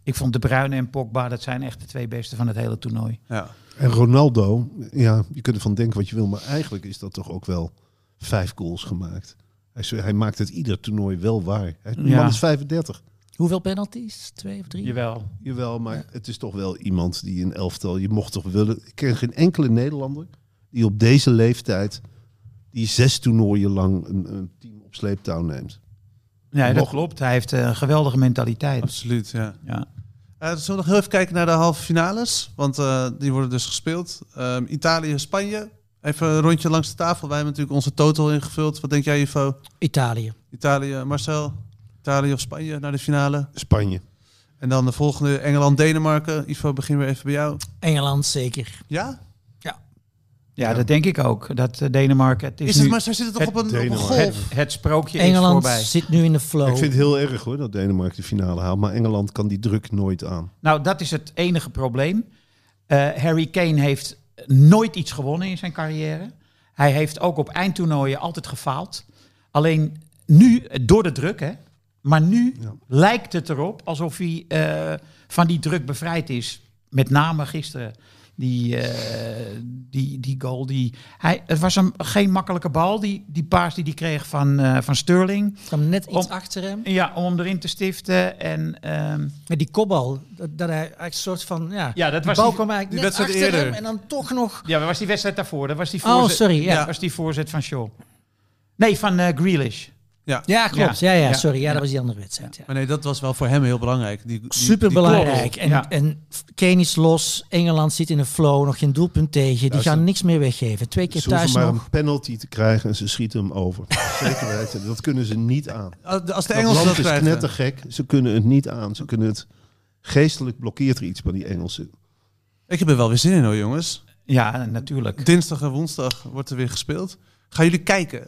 Speaker 4: ik vond de Bruine en Pogba, dat zijn echt de twee beste van het hele toernooi.
Speaker 3: Ja.
Speaker 1: En Ronaldo, ja, je kunt ervan denken wat je wil, maar eigenlijk is dat toch ook wel vijf goals gemaakt. Hij, is- hij maakt het ieder toernooi wel waar. Hij de
Speaker 4: Ja.
Speaker 1: man is 35.
Speaker 5: Hoeveel penalties? Twee of drie?
Speaker 4: Jawel.
Speaker 1: Jawel, maar het is toch wel iemand die een elftal, je mocht toch willen. Ik ken geen enkele Nederlander die op deze leeftijd, die zes toernooien lang een, een team op sleeptouw neemt.
Speaker 4: Ja, dat
Speaker 1: Nog-
Speaker 4: klopt. Hij heeft eh, een geweldige mentaliteit.
Speaker 3: Absoluut, ja.
Speaker 4: Ja.
Speaker 3: Eh, zullen we nog heel even kijken naar de halve finales? Want eh, die worden dus gespeeld. Ehm, Italië, Spanje. Even een rondje langs de tafel. Wij hebben natuurlijk onze total ingevuld. Wat denk jij, Ivo?
Speaker 5: Italië.
Speaker 3: Italië, Marcel? Italië of Spanje naar de finale?
Speaker 1: Spanje.
Speaker 3: En dan de volgende, Engeland, Denemarken. Ivo, begin weer even bij jou.
Speaker 5: Engeland zeker.
Speaker 3: Ja?
Speaker 4: Ja, dat denk ik ook. Dat eh, Denemarken. Het is,
Speaker 3: Is, het,
Speaker 4: nu-
Speaker 3: maar zij zitten toch
Speaker 4: het
Speaker 3: op een, op een
Speaker 1: Denemarken.
Speaker 3: golf?
Speaker 4: Het, het sprookje is
Speaker 5: Engeland
Speaker 4: voorbij.
Speaker 5: zit nu in de flow.
Speaker 1: Ik vind het heel erg hoor dat Denemarken de finale haalt, maar Engeland kan die druk nooit aan.
Speaker 4: Nou, dat is het enige probleem. Eh, Harry Kane heeft nooit iets gewonnen in zijn carrière. Hij heeft ook op eindtoernooien altijd gefaald. Alleen nu, eh, door de druk hè. Maar nu
Speaker 1: Ja.
Speaker 4: lijkt het erop alsof hij eh, van die druk bevrijd is. Met name gisteren. Die, eh, die, die goal. Die, hij, het was hem geen makkelijke bal. Die, die paas die hij kreeg van, eh, van Sterling.
Speaker 5: Ik kwam net iets
Speaker 4: Om-
Speaker 5: achter hem.
Speaker 4: Ja, om hem erin te stiften. En ehm,
Speaker 5: Met die kopbal. Dat, dat hij eigenlijk een soort van... Ja,
Speaker 4: Ja, dat
Speaker 5: die
Speaker 4: was
Speaker 5: bal
Speaker 4: die-
Speaker 5: kwam eigenlijk
Speaker 3: die
Speaker 5: net
Speaker 3: wedstrijd
Speaker 5: achter
Speaker 3: eerder.
Speaker 5: hem en dan toch nog...
Speaker 4: Ja, dat was die wedstrijd daarvoor. Dat was die
Speaker 5: Oh,
Speaker 4: voorzet,
Speaker 5: sorry. Ja,
Speaker 4: dat was die voorzet van Shaw. Nee, van eh, Grealish.
Speaker 5: ja klopt. Ja, ja,
Speaker 4: Ja.
Speaker 5: sorry. Ja,
Speaker 4: Ja.
Speaker 5: dat was die andere wedstrijd. Ja.
Speaker 3: Maar nee, dat was wel voor hem heel belangrijk. Die, die-
Speaker 5: Super belangrijk.
Speaker 4: goal.
Speaker 5: En,
Speaker 4: Ja.
Speaker 5: en Kane is los. Engeland zit in een flow. Nog geen doelpunt tegen. Die
Speaker 1: Luister.
Speaker 5: gaan niks meer weggeven. Twee keer
Speaker 1: Ze hoeven
Speaker 5: thuis
Speaker 1: maar
Speaker 5: nog.
Speaker 1: een penalty te krijgen en ze schieten hem over. Zeker weten, dat kunnen ze niet aan.
Speaker 3: die- als Ah, de- als de
Speaker 1: Dat
Speaker 3: Engelsen dat
Speaker 1: land is
Speaker 3: krijgen.
Speaker 1: knettergek. Ze kunnen het niet aan. Ze kunnen het... Geestelijk blokkeert er iets bij die Engelsen.
Speaker 3: Ik heb er wel weer zin in hoor, jongens.
Speaker 4: Ja, natuurlijk.
Speaker 3: Dinsdag en woensdag wordt er weer gespeeld. Gaan jullie kijken?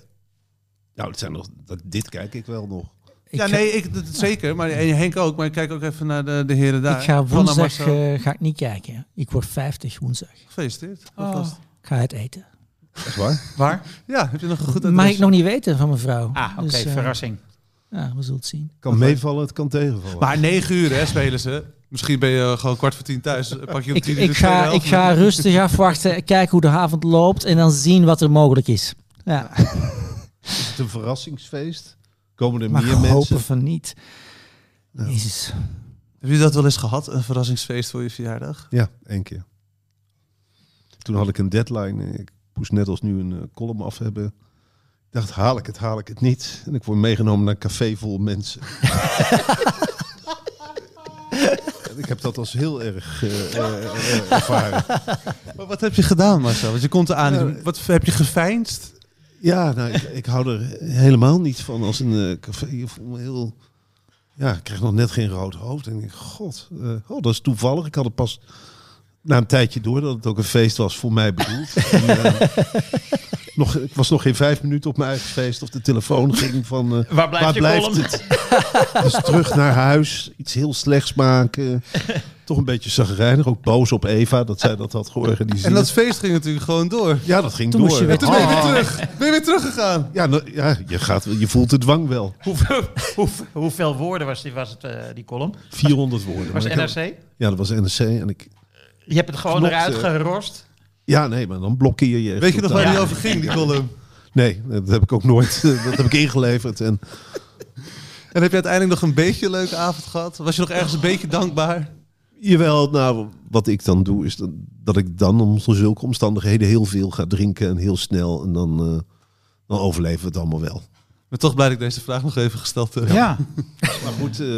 Speaker 1: Nou, het zijn nog, dat, dit kijk ik wel nog.
Speaker 5: Ik
Speaker 3: ja,
Speaker 5: ga-
Speaker 3: nee, ik, dat, zeker. Maar en Henk ook. Maar ik kijk ook even naar de, de heren daar.
Speaker 5: Ik ga
Speaker 3: Vooral naar
Speaker 5: woensdag
Speaker 3: Marcel.
Speaker 5: eh, ga ik niet kijken. Ik word 50 woensdag.
Speaker 3: Gefeliciteerd.
Speaker 5: Oh.
Speaker 3: alvast.
Speaker 5: Ik ga het eten.
Speaker 1: Echt waar?
Speaker 4: Waar?
Speaker 3: Ja, heb je nog een goed
Speaker 5: Mag
Speaker 3: adres?
Speaker 5: ik nog niet weten van mevrouw.
Speaker 4: Ah, oké,
Speaker 5: Dus, eh,
Speaker 4: verrassing.
Speaker 5: ja, we zullen het zien.
Speaker 1: kan meevallen, het kan tegenvallen.
Speaker 3: Maar negen uur hè, spelen ze. Misschien ben je gewoon kwart voor tien thuis. eh, Pak je om
Speaker 5: Ik,
Speaker 3: tien uur de
Speaker 5: ik, ga,
Speaker 3: tweede
Speaker 5: ik
Speaker 3: helft.
Speaker 5: ga rustig (laughs) afwachten, kijken hoe de avond loopt en dan zien wat er mogelijk is. Ja,
Speaker 1: is het een verrassingsfeest? Komen er
Speaker 5: maar
Speaker 1: meer
Speaker 5: hopen
Speaker 1: mensen?
Speaker 5: van niet. Jezus.
Speaker 3: Heb je dat wel eens gehad? Een verrassingsfeest voor je verjaardag?
Speaker 1: Ja, één keer. Toen had ik een deadline. eh, Ik moest net als nu een eh, column af hebben. Ik dacht, haal ik het, haal ik het niet. En ik word meegenomen naar een café vol mensen. En ik heb dat als heel erg eh, eh, eh, ervaren.
Speaker 3: Maar wat heb je gedaan, Marcel? Want je komt eraan.
Speaker 1: Ja.
Speaker 3: Wat heb je geveinsd?
Speaker 1: Ja, nou, ik, ik hou er helemaal niet van als een eh, café. Ik voel me heel. Ja, ik kreeg nog net geen rood hoofd. En ik denk, god, eh, oh, dat is toevallig. Ik had het pas na een tijdje door dat het ook een feest was voor mij (laughs) bedoeld. en, eh, nog, ik was nog geen vijf minuten op mijn eigen feest of de telefoon ging van. eh,
Speaker 4: Waar blijft je column?
Speaker 1: het? Dus terug naar huis, iets heel slechts maken. Toch een beetje zagrijnig, ook boos op Eva dat zij dat had georganiseerd.
Speaker 3: En dat feest ging natuurlijk gewoon
Speaker 5: Oh.
Speaker 3: door.
Speaker 1: ja, dat ging
Speaker 5: Toen
Speaker 1: door.
Speaker 5: moest je weg.
Speaker 3: En toen ben je weer terug. Ben je weer teruggegaan.
Speaker 1: Ja, nou, ja je, gaat, je voelt de dwang wel.
Speaker 4: (laughs) Hoeveel, hoeveel, hoeveel woorden was, die, was het, eh, die column?
Speaker 1: 400 woorden.
Speaker 4: Was
Speaker 1: Maar ik heb-
Speaker 4: NRC?
Speaker 1: Ja, dat was NRC. En ik,
Speaker 4: Je hebt het gewoon
Speaker 1: Klopt,
Speaker 4: eruit
Speaker 1: eh.
Speaker 4: gerost.
Speaker 1: ja, nee, maar dan blokkeer je. echt
Speaker 3: Weet je nog
Speaker 1: totaal.
Speaker 3: waar die
Speaker 4: Ja.
Speaker 3: over ging, die column?
Speaker 1: Nee, dat heb ik ook nooit. (laughs) dat heb ik ingeleverd. En
Speaker 3: En heb je uiteindelijk nog een beetje een leuke avond gehad? Was je nog ergens een beetje dankbaar?
Speaker 1: jawel, nou, wat ik dan doe is dat, dat ik dan om zulke omstandigheden heel veel ga drinken en heel snel. En dan, eh, dan overleven we het allemaal wel.
Speaker 3: Maar toch blij dat ik deze vraag nog even gesteld heb.
Speaker 4: Ja.
Speaker 1: Maar goed, eh,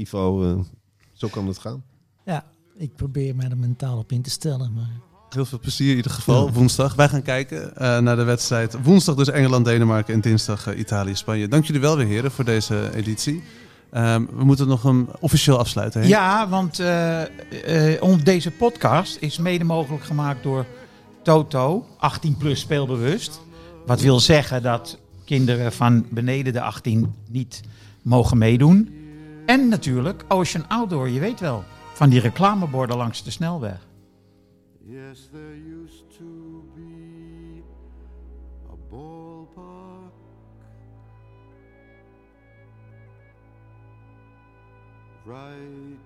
Speaker 1: Ivo, eh, zo kan het gaan.
Speaker 5: Ja. Ik probeer mij er mentaal op in te stellen. Maar...
Speaker 3: Heel veel plezier in ieder geval, woensdag. Wij gaan kijken eh, naar de wedstrijd. Woensdag dus Engeland, Denemarken en dinsdag eh, Italië, Spanje. Dank jullie wel weer heren voor deze editie. Ehm, we moeten nog een officieel afsluiten. Henk.
Speaker 4: Ja, want eh, eh, om- deze podcast is mede mogelijk gemaakt door Toto, 18 plus speelbewust. Wat wil zeggen dat kinderen van beneden de 18 niet mogen meedoen. En natuurlijk Ocean Outdoor, je weet wel, van die reclameborden langs de snelweg.
Speaker 2: Yes, there used to be a ballpark right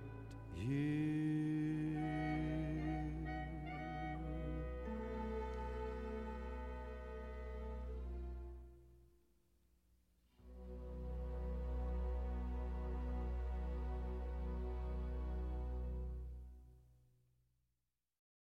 Speaker 2: here.